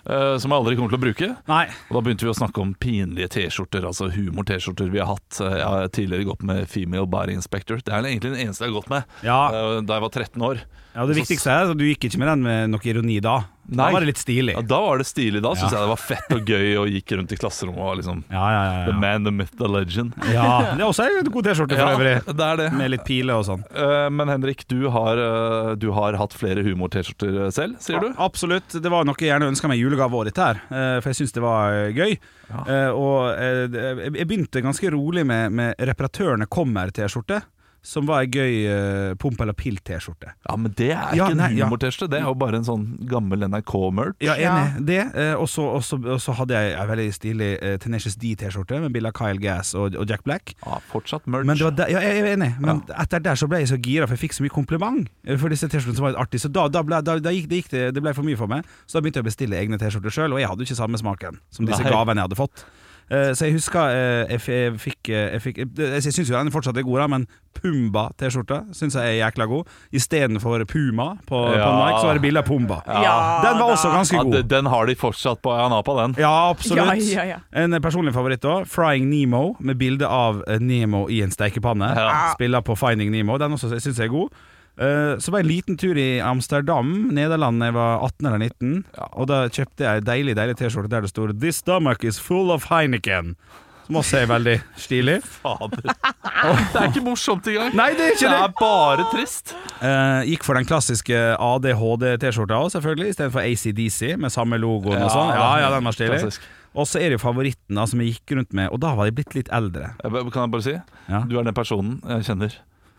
S3: Eh, som jeg aldri kommer til å bruke.
S2: Nei.
S3: Og da begynte vi å snakke om pinlige T-skjorter, altså humor-T-skjorter vi har hatt. Eh, Jeg har tidligere gått med Female Body Inspector. Det er egentlig den eneste jeg har gått med
S2: Ja.
S3: eh, da jeg var 13 år.
S2: Ja, det viktigste er at du gikk ikke med den med noe ironi da. Da
S3: Nei.
S2: var det litt stilig.
S3: Ja, da var det stilig. Da syntes
S2: Ja.
S3: jeg det var fett og gøy og gikk rundt i klasserommet og var liksom
S2: Ja, ja, ja.
S3: The
S2: ja.
S3: man, the myth, the legend.
S2: ja det er også en god T-skjorte for øvrig.
S3: det er det.
S2: Med litt piler og sånn.
S3: Eh, Men Henrik, du har, eh, du har hatt flere humor-T-skjorter eh, selv, sier du?
S2: Absolutt. Det var noe jeg gjerne ønska meg i julegave også, dette her. eh, For jeg syns det var eh, gøy. Eh, Og eh, jeg jeg begynte ganske rolig med, med Reparatørene kommer-T-skjorte. Som var ei gøy eh, pomp eller pill-T-skjorte.
S3: Ja, men det er
S2: Ja,
S3: ikke
S2: nei,
S3: en
S2: ja.
S3: humorteste, det er jo bare en sånn gammel NRK-merch.
S2: Ja, enig. Det. eh, Og så- og så og så hadde jeg ei veldig stilig eh, Tenacious D-T-skjorte med bilde av Kyle Gass og, og Jack Black.
S3: Ja, fortsatt merch.
S2: Men det var der, ja, jeg er enig, men etter der så ble jeg så gira, for jeg fikk så mye kompliment eh, for disse T-skjortene som var litt artige. Så da, da ble, da, da gikk, det, gikk det, det ble for mye for meg, så da begynte jeg å bestille egne T-skjorter sjøl, og jeg hadde jo ikke samme smaken som disse
S3: Nei.
S2: gavene jeg hadde fått. Eh, så jeg husker eh, jeg, f jeg fikk, eh, jeg, fikk eh, jeg syns jo den fortsatt er god, da, men Pumba-T-skjorta syns jeg er jækla god. Istedenfor Puma på, på
S3: Ja.
S2: Nike, så var det bilde av Pumba.
S4: Ja
S2: Den var
S4: da.
S2: også ganske
S3: ja,
S2: god.
S3: de- den har de fortsatt på Ayanapa, den.
S2: Ja, absolutt.
S4: Ja, ja, ja.
S2: En personlig favoritt òg. 'Frying Nemo', med bilde av eh, Nemo i en stekepanne.
S3: Ja.
S2: Spiller på 'Finding Nemo'. Den også syns jeg er god. Eh, Så var jeg en liten tur i Amsterdam, Nederland, da jeg var 18 eller 19. Og da kjøpte jeg ei deilig deilig T-skjorte der det stod 'This stomach is full of Heineken'. Som også er veldig stilig.
S3: Fader. Det er ikke morsomt engang.
S2: Nei, det er
S3: det
S2: ikke det!
S3: er bare trist.
S2: Eh, gikk for den klassiske ADHD-T-skjorta òg, selvfølgelig, istedenfor ACDC med samme logoen og
S3: Ja,
S2: sånn. Ja, ja, den var stilig.
S3: Klassisk.
S2: Og så er det jo favoritten da, som jeg gikk rundt med, og da var jeg blitt litt eldre.
S3: Jeg bare- Eh, Kan jeg bare si?
S2: Ja.
S3: Du er den personen jeg kjenner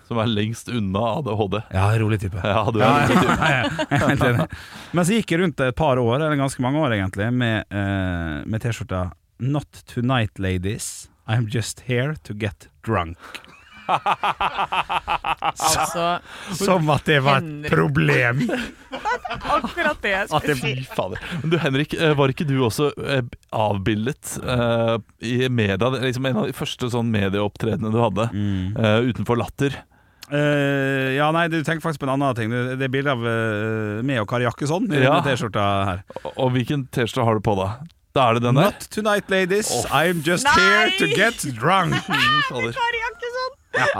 S3: som er lengst unna ADHD.
S2: Ja, rolig type.
S3: Ja, du er
S2: Ja,
S3: den
S2: ja,
S3: typen.
S2: ja, jeg er helt enig. Men så gikk jeg rundt et par år, eller ganske mange år egentlig, med, eh, med T-skjorta Not tonight ladies, I'm just here to get drunk.
S4: Altså,
S2: Som at det var et
S4: Henrik.
S2: problem.
S4: akkurat det jeg skulle si.
S3: Fy fader. Men du Henrik, eh, var ikke du også eh, avbildet eh, i media? Det er Liksom en av de første sånn medieopptredenene du hadde
S2: Mm.
S3: eh, utenfor Latter.
S2: Eh, ja, nei, du tenker faktisk på en annen ting. Det det er bilde av eh, meg og Kari Jakkesson i
S3: Ja.
S2: denne T-skjorta her.
S3: Og- Og hvilken T-skjorte har du på da? Da er det den der?
S2: Not tonight, ladies. I'm just
S4: Nei!
S2: here to get drunk.
S3: Fy fader.
S4: Kari Jakkesson!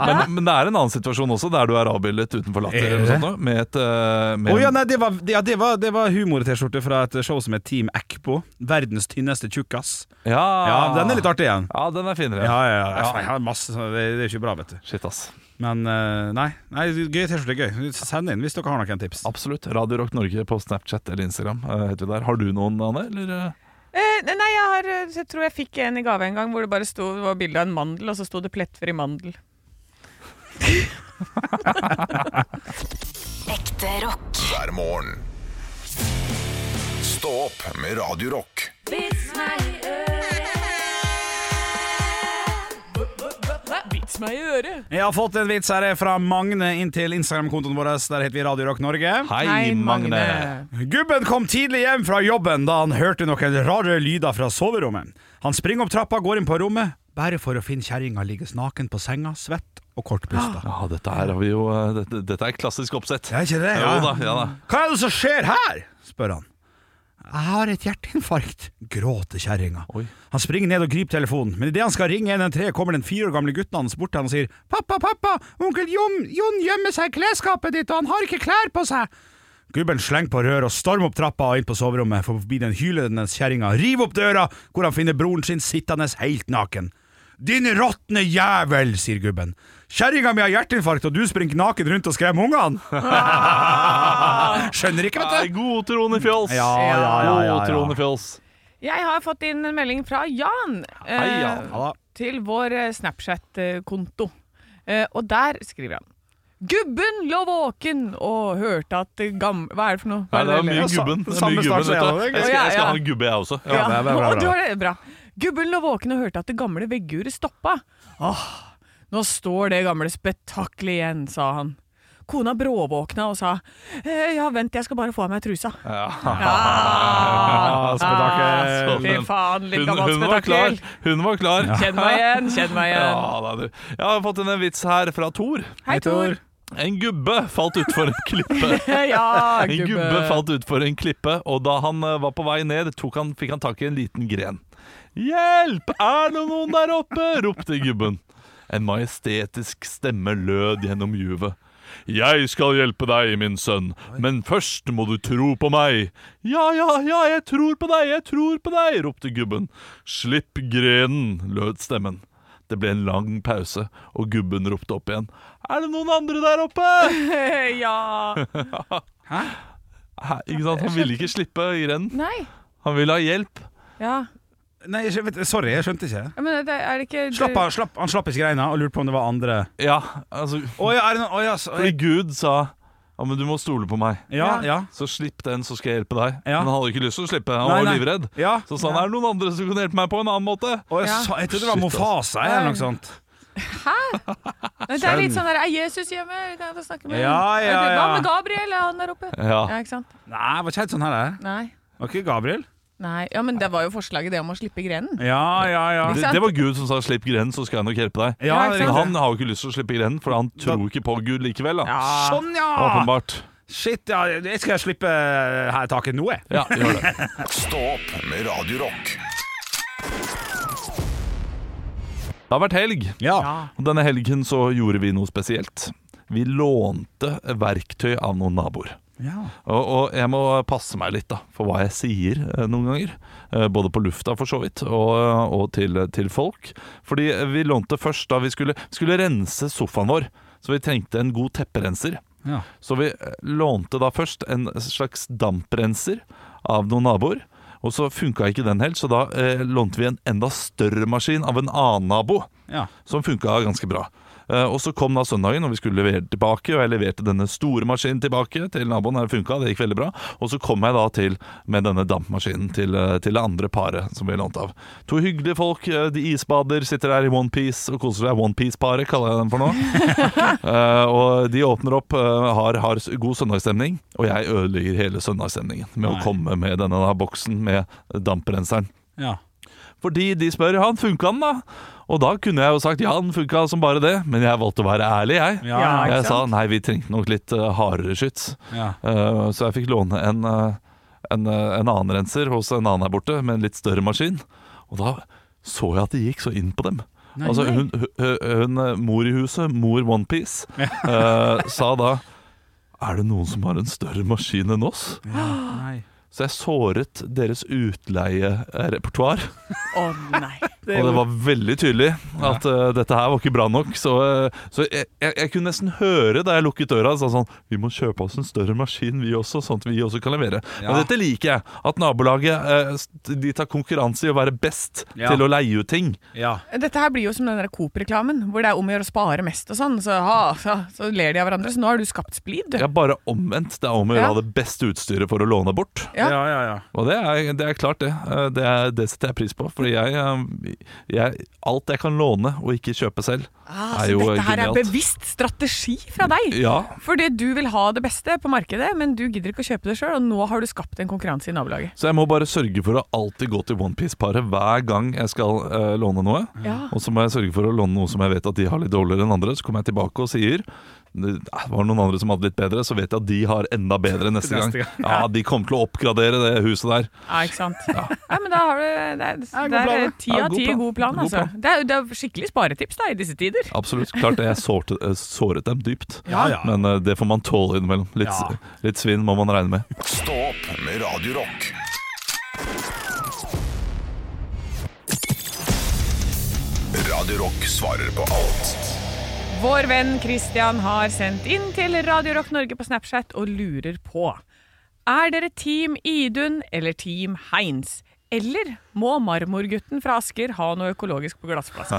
S3: Men, men det er en annen situasjon også, der du er avbildet utenfor Latter.
S2: Er
S3: Eller noe
S2: det?
S3: sånt, noe, med et, eh, med
S2: Å ja,
S3: en-
S2: nei, det var, det- ja, det var, det var humor-T-skjorte fra et show som het Team Ekpo. Verdens tynneste tjukkas.
S3: ja.
S2: Ja, den er litt artig igjen.
S3: Ja, den er finere.
S2: Ja, ja, ja. Jeg har masse sånne, det, det er ikke bra, vet du.
S3: Shit, ass.
S2: Men eh, nei, nei gøy T-skjorte er gøy. Send inn hvis dere har noen tips.
S3: Absolutt. Radio Rock Norge på Snapchat eller Instagram. eh, heter vi der. Har du noen, Anne? Eller? eh?
S4: Eh, nei, jeg, har, eh, jeg tror jeg fikk en i gave en gang hvor det bare sto, det var bilde av en mandel, og så sto det 'plettfri mandel'.
S6: Ekte rock.
S1: hver morgen. Stå opp med Radio Rock.
S4: Vits meg i øret!
S2: Jeg har fått en vits her fra Magne inn til Instagram-kontoen vår. Der heter vi Radio Rock Norge.
S3: Hei,
S2: Gubben kom tidlig hjem fra jobben da han hørte noen rare lyder fra soverommet. Han springer opp trappa, går inn på rommet, bare for å finne kjerringa ligge naken på senga, svett og kortpusta.
S3: Ja, dette her har vi jo eh, dette, dette er klassisk oppsett.
S2: Det er ikke det?
S3: Jo da, ja da.
S2: Hva er det som skjer her? spør han. Jeg har et hjerteinfarkt, gråter kjerringa.
S3: Oi.
S2: Han springer ned og griper telefonen, men idet han skal ringe 113, kommer den fire år gamle gutten hans bort til han og sier Pappa, pappa, onkel Jon, Jon gjemmer seg i klesskapet ditt, og han har ikke klær på seg. Gubben slenger på røret og stormer opp trappa og inn på soverommet, for forbi den hylende kjerringa, river opp døra, hvor han finner broren sin sittende helt naken. Din råtne jævel, sier gubben. Kjerringa mi har hjerteinfarkt, og du springer naken rundt og skremmer ungene! Skjønner ikke,
S3: Ah. Nei,
S2: vet du.
S3: god troende fjols!
S2: Ja, ja, ja, ja, ja.
S3: God troende fjols.
S4: Jeg har fått inn en melding fra Jan
S3: Hei, Jan.
S4: eh,
S2: Ja da.
S4: til vår eh, Snapchat-konto. Eh, og der skriver han Gubben lå våken og hørte at eh, gam... Hva er det for noe?
S3: Nei,
S4: Hva er
S3: det er
S4: det
S3: mye
S4: jeg leser?
S3: gubben. Det er
S2: samme
S3: mye gubben
S2: start som
S3: vet du.
S2: jeg hadde, ikke?
S3: Jeg skal, jeg
S4: Ja,
S3: skal
S4: ja.
S3: ha en gubbe, jeg også.
S4: Ja,
S3: Ja.
S2: bra, bra, bra,
S4: Å,
S2: bra.
S4: du har det bra. Gubben lå våken og hørte at det gamle vegguret stoppa. Åh, nå står det gamle spetakkelet igjen, sa han. Kona bråvåkna og sa eh, ja, vent, jeg skal bare få av meg trusa.
S2: Ah, spetakkel.
S4: Ah, Fy faen, litt
S3: Hun,
S4: gammelt
S3: hun var klar.
S4: spetakkel.
S3: Hun var klar.
S4: Kjenn meg igjen, kjenn meg
S3: Ja,
S4: igjen.
S3: da, du. Jeg har fått inn en vits her fra Thor.
S4: Hei, Tor.
S3: En gubbe falt utfor en klippe.
S4: Ja,
S3: En gubbe falt utfor en klippe, og da han eh, var på vei ned, tok han, fikk han tak i en liten gren. Hjelp! Er det noen der oppe? ropte gubben. En majestetisk stemme lød gjennom juvet. Jeg skal hjelpe deg, min sønn, men først må du tro på meg. Ja, ja, ja, jeg tror på deg, jeg tror på deg, ropte gubben. Slipp grenen, lød stemmen. Det ble en lang pause, og gubben ropte opp igjen. Er det noen andre der oppe?
S4: Ja.
S3: Hæ, ikke sant? Han ville ikke slippe grenen.
S4: Nei.
S3: Han ville ha hjelp.
S4: Ja.
S2: Nei, jeg skjønte- sorry, jeg skjønte ikke.
S4: Men det er det ikke
S2: Slapp, av, slapp, han slapp ikke greina og lurte på om det var andre
S3: Ja, altså
S2: Å ja, er det noe Å ja, så,
S3: Fordi Gud sa Ja, men du må stole på meg.
S2: ja, ja.
S3: Så slipp den, så skal jeg hjelpe deg.
S2: Ja.
S3: Men han hadde ikke lyst til å slippe. Han
S2: Nei,
S3: var
S2: nei.
S3: livredd.
S2: Ja.
S3: Så sa han er det noen andre som kan hjelpe meg på en annen måte.
S2: Å, jeg,
S4: Ja.
S2: sa, jeg trodde det var
S3: Shit,
S2: Mofasa eller noe sånt.
S4: Det er litt sånn der Er Jesus hjemme? Kan jeg få snakke med
S2: Ja,
S4: ham?
S2: ja,
S4: Hva
S2: ja.
S4: med Gabriel? Er han der oppe?
S3: Ja.
S4: Ja, ikke sant?
S2: Nei, det var ikke helt sånn her. det.
S4: Nei.
S2: Var ikke Gabriel?
S4: Nei, ja, men det var jo forslaget det om å slippe grenen.
S2: Ja, ja, ja.
S4: Ikke
S3: Det,
S4: sant?
S3: det var Gud som sa 'slipp grenen, så skal jeg nok hjelpe deg'.
S2: ja
S4: Ja,
S2: det er
S4: ikke
S3: Men
S4: sant?
S2: riktig.
S3: han har jo ikke lyst til å slippe grenen, for han tror ikke på Gud likevel. da
S4: Ja.
S2: Sånn, ja!
S3: Åpenbart.
S2: Shit, ja. Jeg skal slippe eh, her taket nå, jeg.
S3: Ja, gjør det.
S1: Stå opp med Radio Rock
S3: Det har vært helg,
S2: Ja.
S3: og denne helgen så gjorde vi noe spesielt. Vi lånte verktøy av noen naboer.
S2: ja.
S3: Og, og jeg må passe meg litt da for hva jeg sier eh, noen ganger. Eh, Både på lufta, for så vidt, og, og til, til folk. Fordi vi lånte først da vi skulle, skulle rense sofaen vår. Så vi trengte en god tepperenser.
S2: Ja.
S3: Så vi eh, lånte da først en slags damprenser av noen naboer. Og så funka ikke den helt, så da eh, lånte vi en enda større maskin av en annen nabo
S2: Ja.
S3: som funka ganske bra. Eh, Og så kom da søndagen, og vi skulle levere tilbake, og jeg leverte denne store maskinen tilbake til naboen. Det funka, det gikk veldig bra. Og så kom jeg da til med denne dampmaskinen til, eh, til det andre paret som vi lånte av. To hyggelige folk, eh, de isbader, sitter der i onepiece og koser seg. Onepiece-paret kaller jeg dem for nå. Eh, og de åpner opp, eh, har, har s- god søndagsstemning, og jeg ødelegger hele søndagsstemningen med
S2: Nei.
S3: å komme med denne da boksen med damprenseren.
S2: Ja.
S3: Fordi de spør ja, han funka den da? Og da kunne jeg jo sagt ja, den funka som bare det, men jeg valgte å være ærlig, jeg.
S2: Ja,
S4: Ja,
S2: ja,
S4: ikke
S3: jeg sa nei, vi trengte nok litt eh, hardere skyts.
S2: ja.
S3: Eh, så jeg fikk låne en, eh, en, eh, en annen renser hos en annen her borte, med en litt større maskin. Og da så jeg at det gikk så inn på dem. altså hun, hun, hun eh, mor i huset, mor Onepiece, uh, sa da Er det noen som har en større maskin enn oss?
S2: Nei.
S3: Så jeg såret deres utleierepertoar.
S4: Å nei.
S3: Og det var veldig tydelig at eh, dette her var ikke bra nok. Så, eh, så jeg, jeg, jeg kunne nesten høre da jeg lukket døra, sa sånn Vi må kjøpe oss en større maskin, vi også, sånn at vi også kan levere.
S2: Ja.
S3: Men dette liker jeg. At nabolaget eh, s- de tar konkurranse i å være best
S2: Ja.
S3: til å leie ut ting.
S2: Ja.
S4: Dette her blir jo som den der Coop-reklamen, hvor det er om å gjøre å spare mest og sånn. Så, ha, så, så ler de av hverandre. Så nå har du skapt splid, du.
S3: Jeg er bare omvendt. Det er om å gjøre
S4: Ja.
S3: å ha det beste utstyret for å låne bort.
S4: Ja.
S2: Ja, ja, ja.
S3: Og det er, det er klart, det. Eh, Det, er, det setter jeg pris på. Fordi jeg, eh, jeg Alt jeg kan låne og ikke kjøpe selv,
S4: Ah,
S3: er
S4: så
S3: jo
S4: dette her er
S3: genialt.
S4: bevisst strategi fra deg.
S3: Ja,
S4: Fordi du vil ha det beste på markedet, men du gidder ikke å kjøpe det sjøl, og nå har du skapt en konkurranse i nabolaget.
S3: Så jeg må bare sørge for å alltid gå til Onepiece-paret hver gang jeg skal eh, låne noe.
S4: Ja.
S3: Og så må jeg sørge for å låne noe som jeg vet at de har litt dårligere enn andre. Så kommer jeg tilbake og sier det ah, var det noen andre som hadde litt bedre, så vet jeg at de har enda bedre neste gang.
S2: Neste gang.
S3: Ja, de kommer til å oppgradere det huset der.
S4: Ja, ikke sant? Ja. men da har du Det er, det er eh, ti
S3: Ja,
S4: av
S3: god
S4: ti
S3: plan.
S4: god plan,
S3: God
S4: altså.
S3: plan.
S4: Det er, det er skikkelig sparetips da, i disse tider.
S3: Absolutt. Klart det, jeg sårte, eh, såret dem dypt.
S2: Ja, ja.
S3: Men eh, det får man tåle innimellom. Litt,
S2: Ja.
S3: litt svinn må man regne med.
S1: Stå opp med Radio Rock. Radio Rock svarer på alt
S4: Vår venn Christian har sendt inn til Radio Rock Norge på Snapchat og lurer på Er dere Team Idun eller Team Heins? Eller må marmorgutten fra Asker ha noe økologisk på glassflaske?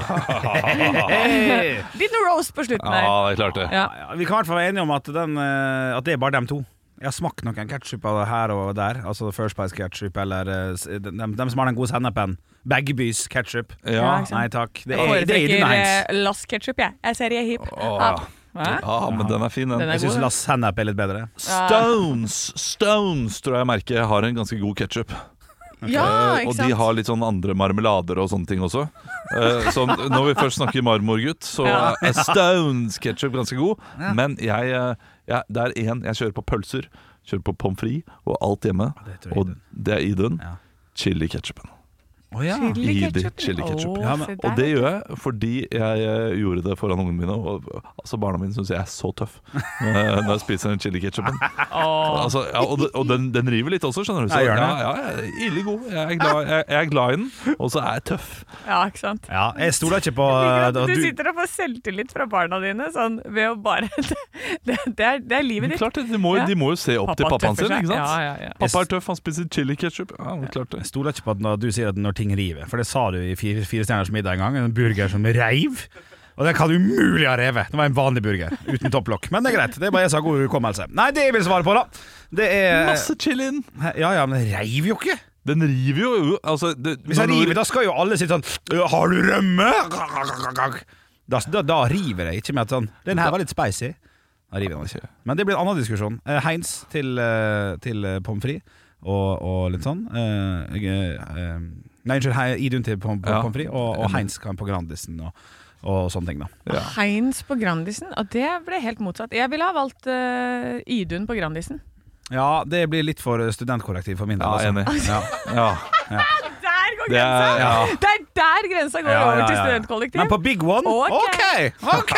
S4: Liten roast på slutten her.
S3: Ja, det er klart det.
S4: Ja.
S2: Ja, vi kan i hvert fall være enige om at, den, eh, at det er bare dem to. Jeg har smakt noen ketsjup av det her og der. Altså First Price ketsjup eller eh, s- dem, dem som har den gode sennepen. Bagbys ketsjup.
S3: Ja.
S4: ikke sant.
S2: Nei takk. Det er,
S4: Jeg
S2: det er Idun
S4: foretrekker
S2: Heinz.
S4: eh, Lass ketchup, jeg. Jeg ser jeg er hip.
S3: Åh.
S4: Hæ?
S3: Ja, men den er fin, den.
S4: Den er
S2: Jeg syns
S4: god,
S2: La Sennep er litt bedre.
S3: Stones, Stones tror jeg merket har en ganske god ketsjup. Eh,
S4: Ja, ikke
S3: og de
S4: sant?
S3: har litt sånn andre marmelader og sånne ting også. Eh, så når vi først snakker marmorgutt, så
S4: Ja.
S3: er Stones ketchup ganske god. Men jeg, eh, jeg, det er én jeg kjører på pølser, kjører på pommes frites og alt hjemme.
S2: det tror jeg
S3: og
S2: Idun.
S3: det er Idun.
S2: Ja.
S3: Chili ketchupen.
S2: Oh, ja.
S4: Chili
S3: Idi
S4: ketchup.
S3: chili ketchup.
S4: Åh,
S2: Ja, men-
S4: se der.
S3: Og det gjør jeg fordi jeg eh, gjorde det foran ungene mine. Og altså barna mine syns jeg er så tøff eh, når jeg spiser den chili ketchupen. Altså, ja, og det- og den, den river litt også, skjønner du.
S2: Ja, gjør den.
S3: ja, ja, jeg er ille god. Jeg er, glad, jeg, jeg er glad i den, og så er jeg tøff.
S4: Ja, ikke sant?
S2: ja, jeg stoler ikke på
S4: Ikke sant?
S2: eh,
S4: Du
S2: du-
S4: sitter og får selvtillit fra barna dine sånn, ved å bare Det, det, er, det er livet
S3: Men
S4: ditt.
S3: klart det, de må,
S4: Ja.
S3: de må jo se opp til pappaen sin,
S4: tøffer seg.
S3: ikke sant?
S4: Ja, ja, ja.
S3: Pappa er tøff, han spiser chili ketchup. Ja, men klart det.
S2: Jeg stoler ikke på at når du sier at når ting river, for det sa du i Fire, fire stjerners middag en gang. En burger som reiv. Og den kan umulig ha revet. Det var en vanlig burger uten topplokk. Men det er greit. Det er bare jeg som har god hukommelse. Nei, det jeg vil svare på, da, det er
S3: Masse chilien!
S2: Ja ja, men det reiv jo ikke.
S3: Den river jo jo, altså det,
S2: Hvis jeg
S3: når-
S2: river, da skal jo alle si sånn «Øh, Har du rømme? Da, da, da river jeg ikke med at sånn Den her var litt spicy. Da river jeg den ikke. Men det blir en annen diskusjon. Eh, Heinz til, eh, til eh, pommes frites og, og litt sånn. Eh, jeg, eh, nei, unnskyld. Hei, Idun til pom-
S3: Ja. Mm.
S2: pommes frites og, og Heinz kan på Grandisen og, og sånne ting, da.
S3: Ja.
S4: Heinz på Grandisen. Og det ble helt motsatt. Jeg ville ha valgt eh, Idun på Grandisen.
S2: Ja, det blir litt for studentkollektiv for min del.
S3: Ja,
S2: altså.
S3: enig.
S2: Ja.
S3: Ja.
S4: Der går
S3: Det er-
S4: grensa!
S3: ja.
S4: Det er der grensa går
S2: Ja, ja,
S4: over til
S2: ja.
S4: studentkollektiv.
S2: Men på Big One?
S4: Ok.
S2: OK! ok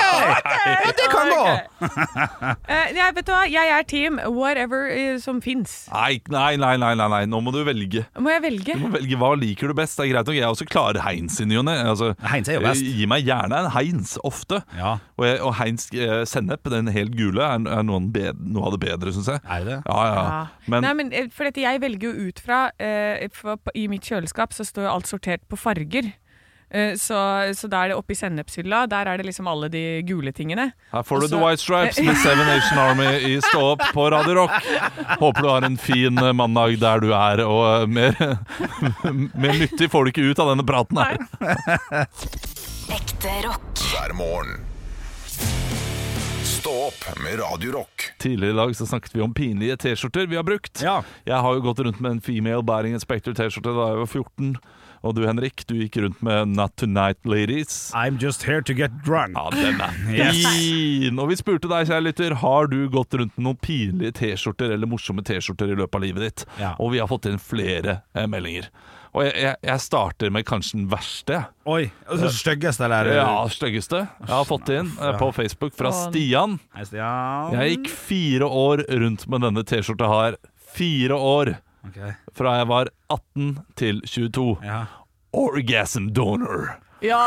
S2: Ja, det kan gå!
S4: jeg, Eh, vet du hva? jeg er team whatever eh, som fins.
S3: Nei, nei, nei, nei, nei, nei, nå må du velge.
S4: Må jeg velge?
S3: Du må velge hva liker du best. Det er greit nok, jeg også klarer Heinz i ny og ne. Altså,
S2: Heinz er jo best.
S3: Gi meg gjerne en Heinz ofte.
S2: Ja.
S3: Og, jeg, og Heinz eh, sennep, den helt gule, er, er noen be- noe av det bedre, syns jeg.
S2: Er det det?
S3: Ja, ja.
S4: Ja.
S3: Men,
S4: Nei, men eh, for dette, Jeg velger jo ut fra eh, for, på- I mitt kjøleskap så står jo alt sortert på farger. Eh, Så, så da er det oppe i sennepshylla. Der er det liksom alle de gule tingene.
S3: Her får du
S4: Og
S3: The
S4: så-
S3: White Stripes med Seven Nation Army i Stå opp på Radio Rock. Håper du har en fin eh, mandag der du er, og eh, mer, mer nyttig får du ikke ut av denne praten her.
S6: Ekte rock.
S1: hver morgen. Stå opp med Radio Rock.
S3: Tidligere i dag så snakket vi om pinlige T-skjorter vi har brukt.
S2: Ja.
S3: Jeg har jo gått rundt med en Female Bæring Inspector T-skjorte da jeg var 14. Og du Henrik, du gikk rundt med Not Tonight Ladies.
S2: I'm just here to get drunk.
S3: Ja, den er
S2: Ah, Yes.
S3: fin! Og vi spurte deg, kjære lytter, har du gått rundt med noen pinlige T-skjorter eller morsomme T-skjorter i løpet av livet ditt?
S2: Ja.
S3: Og vi har fått inn flere eh, meldinger. Og jeg, jeg, jeg starter med kanskje den verste.
S2: Oi, og så styggeste eller?
S3: Ja, styggeste. Jeg har fått inn eh, på Facebook fra
S4: Faen.
S3: Stian.
S2: Hei, Stian.
S3: Jeg gikk fire år rundt med denne T-skjorta her. Fire år
S2: Ok,
S3: fra jeg var 18 til 22.
S2: ja.
S3: Orgasm donor.
S4: Ja,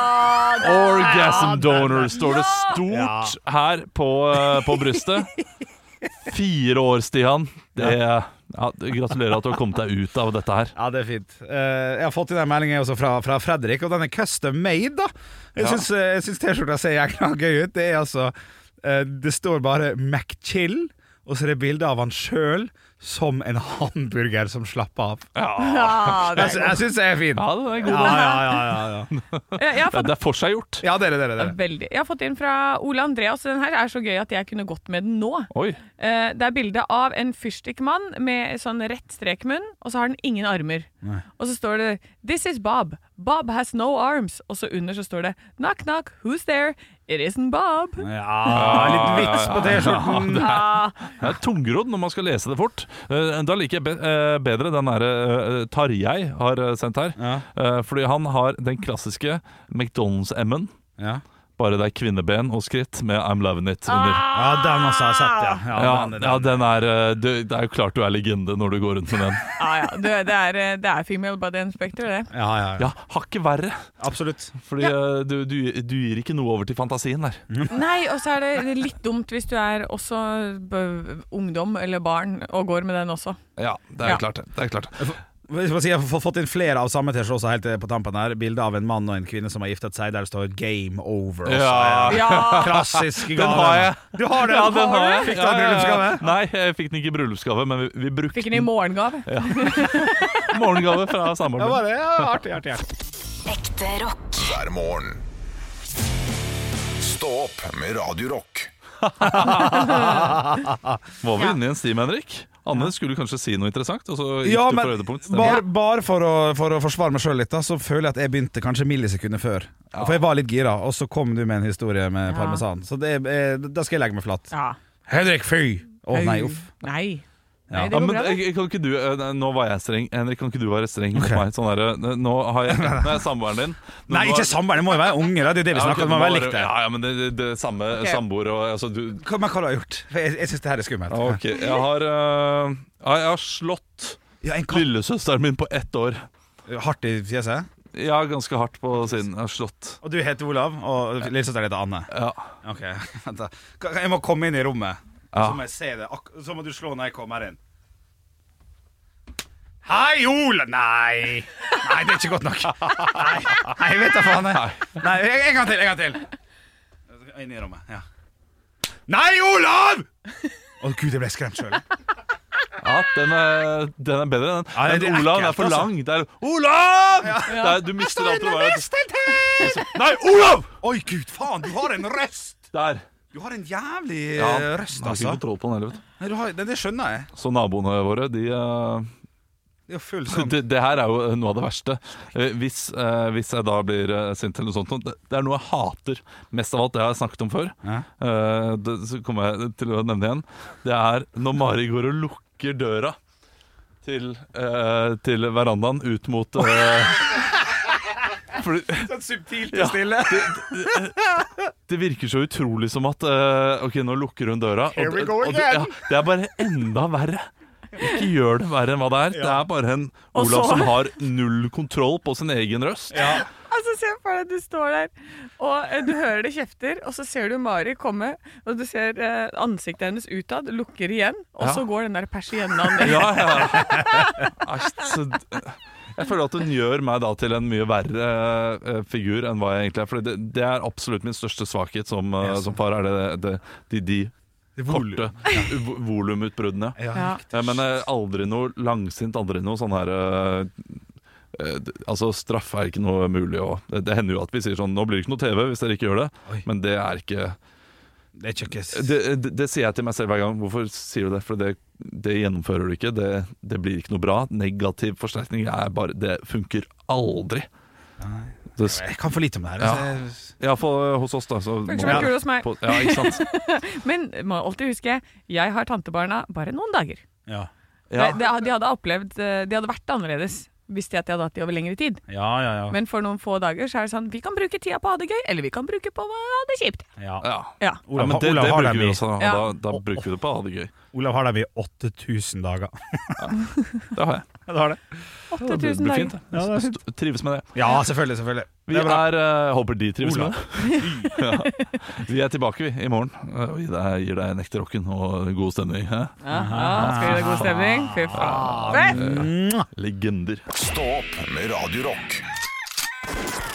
S3: Orgasm donor står det stort her på, eh, på brystet. Fire år, Stian. Det, ja, gratulerer at du har kommet deg ut av dette her.
S2: Ja, det er fint. Eh, jeg har fått inn en melding også fra, fra Fredrik, og den er custom made, da. Jeg
S3: Ja.
S2: syns, eh, jeg syns T-skjorta ser jækla gøy ut. Det er altså eh, Det står bare MacChill, og så er det bilde av han sjøl som en hamburger som slapper av. Jeg, sy- jeg syns det er fint.
S3: Ja, det er,
S2: Ja,
S3: god.
S2: ja, ja, ja, ja.
S4: Jeg, jeg har fått
S3: det er for seg gjort.
S2: ja dere, dere, dere.
S4: Veldig. Jeg har fått inn fra Ole Andreas. Den her er så gøy at jeg kunne gått med den nå.
S3: Oi.
S4: Eh, Det er bilde av en fyrstikkmann med sånn rett strekmunn, og så har den ingen armer. Og så står det 'This is Bob'. 'Bob has no arms'. Og så under så står det 'Knock, knock, who's there? It isn't Bob'.
S2: Ja, litt vits på T-skjorten.
S4: Ah,
S3: Det er tungrodd når man skal lese det fort. Eh, Da liker jeg be eh, bedre den derre eh, Tarjei har eh, sendt her.
S2: Ja.
S3: Eh, Fordi han har den klassiske McDonald's-M-en.
S2: Ja.
S3: Bare det er kvinneben og skritt med I'm loving it under.
S2: ja, den også har jeg sett, ja.
S3: Ja,
S2: Ja, den, den,
S3: ja, den er eh, du, Det er jo klart du er legende når du går rundt med den.
S4: ja, Ah, ja. Du, det, er, eh, det er female body inspector, det.
S2: ja, ja, ja.
S3: Ja, hakket verre.
S2: Absolutt.
S3: Fordi eh, du, du, du gir ikke noe over til fantasien der.
S4: Nei, og så er det- det er litt dumt hvis du er også b ungdom eller barn og går med den også.
S3: Ja, det er
S4: Ja.
S3: jo klart det. det, er klart det.
S2: Hvis man sier, Jeg har fått inn flere av samme T-skjorte også helt eh, på tampen her. Bilde av en mann og en kvinne som har giftet seg, der det står 'game over'. også.
S3: Ja.
S4: Ja!
S2: Klassisk gave.
S3: Den har jeg.
S2: Du har den?
S3: Ja, den har jeg.
S2: Fikk du
S3: Ja,
S2: den i
S3: ja, ja.
S2: bryllupsgave?
S3: Nei, jeg fikk den ikke i bryllupsgave, men vi, vi brukte
S4: Fikk den i morgengave.
S3: den i morgengave fra
S2: Ja,
S3: samboeren min.
S2: bare, ja, artig, artig, artig.
S6: Ekte rock.
S1: hver morgen. Stå opp med Radio Rock.
S3: Var vi
S4: Ja.
S3: inne i en stim, Henrik? Anne skulle kanskje si noe interessant, og så gikk
S2: Ja,
S3: du
S2: men
S3: for høydepunkt. Stemmer.
S2: bare, bare for, å, for å forsvare meg sjøl litt, da, så føler jeg at jeg begynte kanskje millisekunder før. For jeg var litt gira, og så kom du med en historie med
S4: Ja.
S2: parmesan. Så det, er- eh, da skal jeg legge meg flat.
S4: Ja.
S2: Henrik, fy! Å nei, uff.
S4: Nei.
S2: Ja.
S4: Nei,
S3: Ja,
S4: det går
S3: men
S4: bra. det.
S3: jeg, kan ikke du, eh, nei, nå var jeg streng Henrik, kan ikke du være streng mot meg? Sånn der, eh, nå har jeg, nå er jeg samboeren din Nå
S2: Nei,
S3: var-
S2: ikke samboer, det må jo være unge. Da. Det er det vi
S3: Ja, ok,
S2: snakker om.
S3: nå
S2: Man må
S3: var
S2: være
S3: det-
S2: likt det.
S3: Ja, ja, men det, det, det samme
S4: Ok.
S3: samboer og altså, du,
S2: Hva- Men hva har du gjort? For Jeg, jeg syns det her er skummelt.
S3: Ok, jeg har, eh, ja, jeg har slått
S2: Ja, en katt
S3: lillesøsteren min på ett år
S2: hardt i fjeset.
S3: Ja, ganske hardt på siden Jeg har slått
S2: Og du heter Olav, og lillesøsteren heter Anne.
S3: ja.
S2: Ok, vent da. Kan- kan- Jeg må komme inn i rommet.
S3: Ja.
S2: Så må jeg se det. Ak så må du slå når jeg kommer inn. Hei, Ola! Nei! Nei, det er ikke godt nok. Nei, Nei jeg vet da faen. jeg. Nei, en gang til. En gang til. Inn i rommet. ja Nei, Olav! Å gud, jeg ble skremt sjøl.
S3: ja, den er, den er bedre den
S2: Ja, det er
S3: Men Olav, den er
S2: ekkelt,
S3: for
S2: altså.
S3: lang Det er, Olav! Det er, du mister alt du var Nei, Olav!
S2: Oi, gud, faen, du har en røst!
S3: Der
S2: Du har en jævlig
S3: Ja,
S2: eh,
S3: jeg
S2: røst,
S3: har ikke
S2: altså.
S3: kontroll på den heller vet du.
S2: Nei, du har, det, det skjønner jeg.
S3: Så naboene våre, de eh,
S2: Det er jo full sånn
S3: det, det her er jo noe av det verste. Eh, Hvis, eh, hvis jeg da blir eh, sint eller noe sånt, det, det er noe jeg hater mest av alt det jeg har snakket om før.
S2: Ja.
S3: Eh, det, så kommer jeg til å nevne igjen. Det er når Mari går og lukker døra til, eh, til verandaen ut mot eh, fordi,
S2: subtilt
S3: Ja.
S2: stille.
S3: det virker så utrolig som at eh, Ok, nå lukker hun døra.
S2: Here we go
S3: det, ja,
S2: again.
S3: det er bare enda verre. Ikke gjør det verre enn hva det er. Det er bare en
S4: Og
S3: Olav
S4: så-
S3: som har null kontroll på sin egen røst.
S4: Altså, se for deg, du står der, og eh, du hører det kjefter, og så ser du Mari komme, og du ser eh, ansiktet hennes utad, lukker igjen, og
S3: Ja.
S4: så går den der persienna ned.
S3: Ja, ja. Æsj, så d- Jeg føler at hun gjør meg da til en mye verre eh, figur enn hva jeg egentlig er. For det, det er absolutt min største svakhet som, eh,
S2: Yes.
S3: som far, er det, det, de, de
S2: Det er volum.
S3: korte vo- volumutbruddene.
S2: Ja.
S4: Ja.
S3: Eh, Men eh, aldri noe langsint, aldri noe sånn her eh, eh, d- Altså, straff er ikke noe mulig å Det, det hender jo at vi sier sånn 'Nå blir det ikke noe TV hvis dere ikke gjør det',
S2: Oi.
S3: eh, men det er ikke
S2: Det er ikke
S3: det, det, det sier jeg til meg selv hver gang. Hvorfor sier du det? For det, det gjennomfører du ikke. Det, det blir ikke noe bra. Negativ forsterkning er bare Det funker aldri. Det, s-
S2: Jeg kan for lite om det her. altså.
S3: Ja.
S2: så jeg-
S3: Iallfall hos oss, da. Så
S4: Funker som en kule hos meg.
S3: på, ja, ikke sant?
S4: Men må alltid huske, jeg har tantebarna bare noen dager.
S2: Ja.
S3: Ja.
S4: Nei, De, de hadde opplevd eh, De hadde vært annerledes hvis de, at de hadde hatt de over lengre tid.
S2: Ja, ja, ja.
S4: Men for noen få dager så er det sånn Vi kan bruke tida på å ha det gøy, eller vi kan bruke på å ha det kjipt.
S2: ja.
S3: ja.
S4: Ja.
S3: ja
S2: Olav,
S3: men det,
S2: Olav
S3: det
S2: har
S3: bruker
S2: dem
S3: vi
S2: i,
S3: også. Da,
S4: Ja.
S3: da, da bruker vi det på å ha det gøy.
S2: Olav har dem i 8000 dager.
S3: Det har jeg.
S2: Det har det.
S4: 8000
S3: blir
S4: dager.
S3: fint.
S2: Ja, det er fint.
S3: St- Trives med det.
S2: Ja, selvfølgelig. selvfølgelig
S3: Vi
S2: det er bra.
S3: er, eh, Håper de trives
S2: Olav.
S3: med det. ja. Vi er tilbake vi, i morgen eh, og gir deg, gir deg en ekte rocken og god stemning. hæ?
S4: Ja, ja, skal vi ha god stemning? Fy
S3: Ah,
S4: faen.
S3: Legender.
S1: Stå opp med Radio Rock.